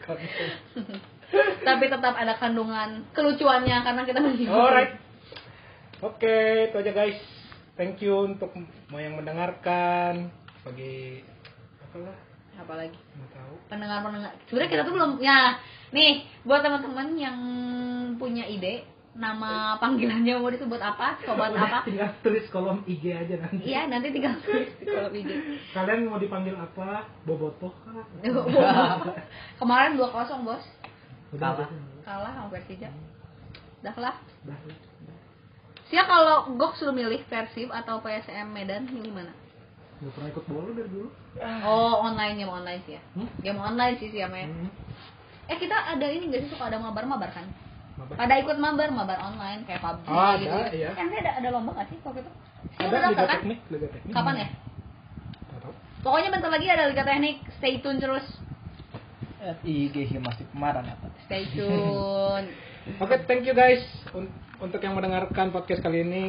[SPEAKER 1] konten.
[SPEAKER 3] Tapi tetap ada kandungan kelucuannya karena kita masih
[SPEAKER 1] Alright. Oke, itu aja guys. Thank you untuk mau yang mendengarkan bagi apalah,
[SPEAKER 3] Apalagi
[SPEAKER 1] nggak tahu.
[SPEAKER 3] pendengar-pendengar. Sebenarnya kita tuh belum ya. Nih, buat teman-teman yang punya ide nama panggilannya mau disebut apa, sobat apa?
[SPEAKER 1] Tinggal tulis kolom IG aja nanti.
[SPEAKER 3] Iya, nanti tinggal tulis di kolom ide.
[SPEAKER 1] Kalian mau dipanggil apa? Bobotoh kah?
[SPEAKER 3] Kemarin 2-0, Bos.
[SPEAKER 2] Kalah.
[SPEAKER 3] Kalah sama Persija. Dah lah.
[SPEAKER 1] Dah.
[SPEAKER 3] Sia kalau Gok suruh milih Persib atau PSM Medan, milih mana?
[SPEAKER 1] Gak pernah ikut bola dari dulu.
[SPEAKER 3] Oh, online game online sih ya.
[SPEAKER 1] Hmm?
[SPEAKER 3] Game online sih sih ya, Maya.
[SPEAKER 1] Hmm.
[SPEAKER 3] Eh kita ada ini nggak sih suka ada mabar-mabar kan?
[SPEAKER 1] Mabar.
[SPEAKER 3] Ada ikut mabar, mabar online kayak PUBG
[SPEAKER 1] Ah, ada,
[SPEAKER 3] gitu.
[SPEAKER 1] iya.
[SPEAKER 3] Kan ada ada lomba nggak sih kalau gitu?
[SPEAKER 1] Ada
[SPEAKER 3] Sih, udah
[SPEAKER 1] liga
[SPEAKER 3] daftar kan?
[SPEAKER 1] teknik, liga teknik.
[SPEAKER 3] Kapan ya?
[SPEAKER 1] Nggak tahu.
[SPEAKER 3] Pokoknya bentar lagi ada Liga Teknik, stay tune terus.
[SPEAKER 2] At IG masih kemarin apa
[SPEAKER 3] Stay tune.
[SPEAKER 1] Oke, thank you guys Un- untuk yang mendengarkan podcast kali ini.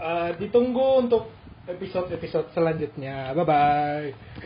[SPEAKER 1] Eh, ditunggu untuk episode-episode selanjutnya. Bye bye.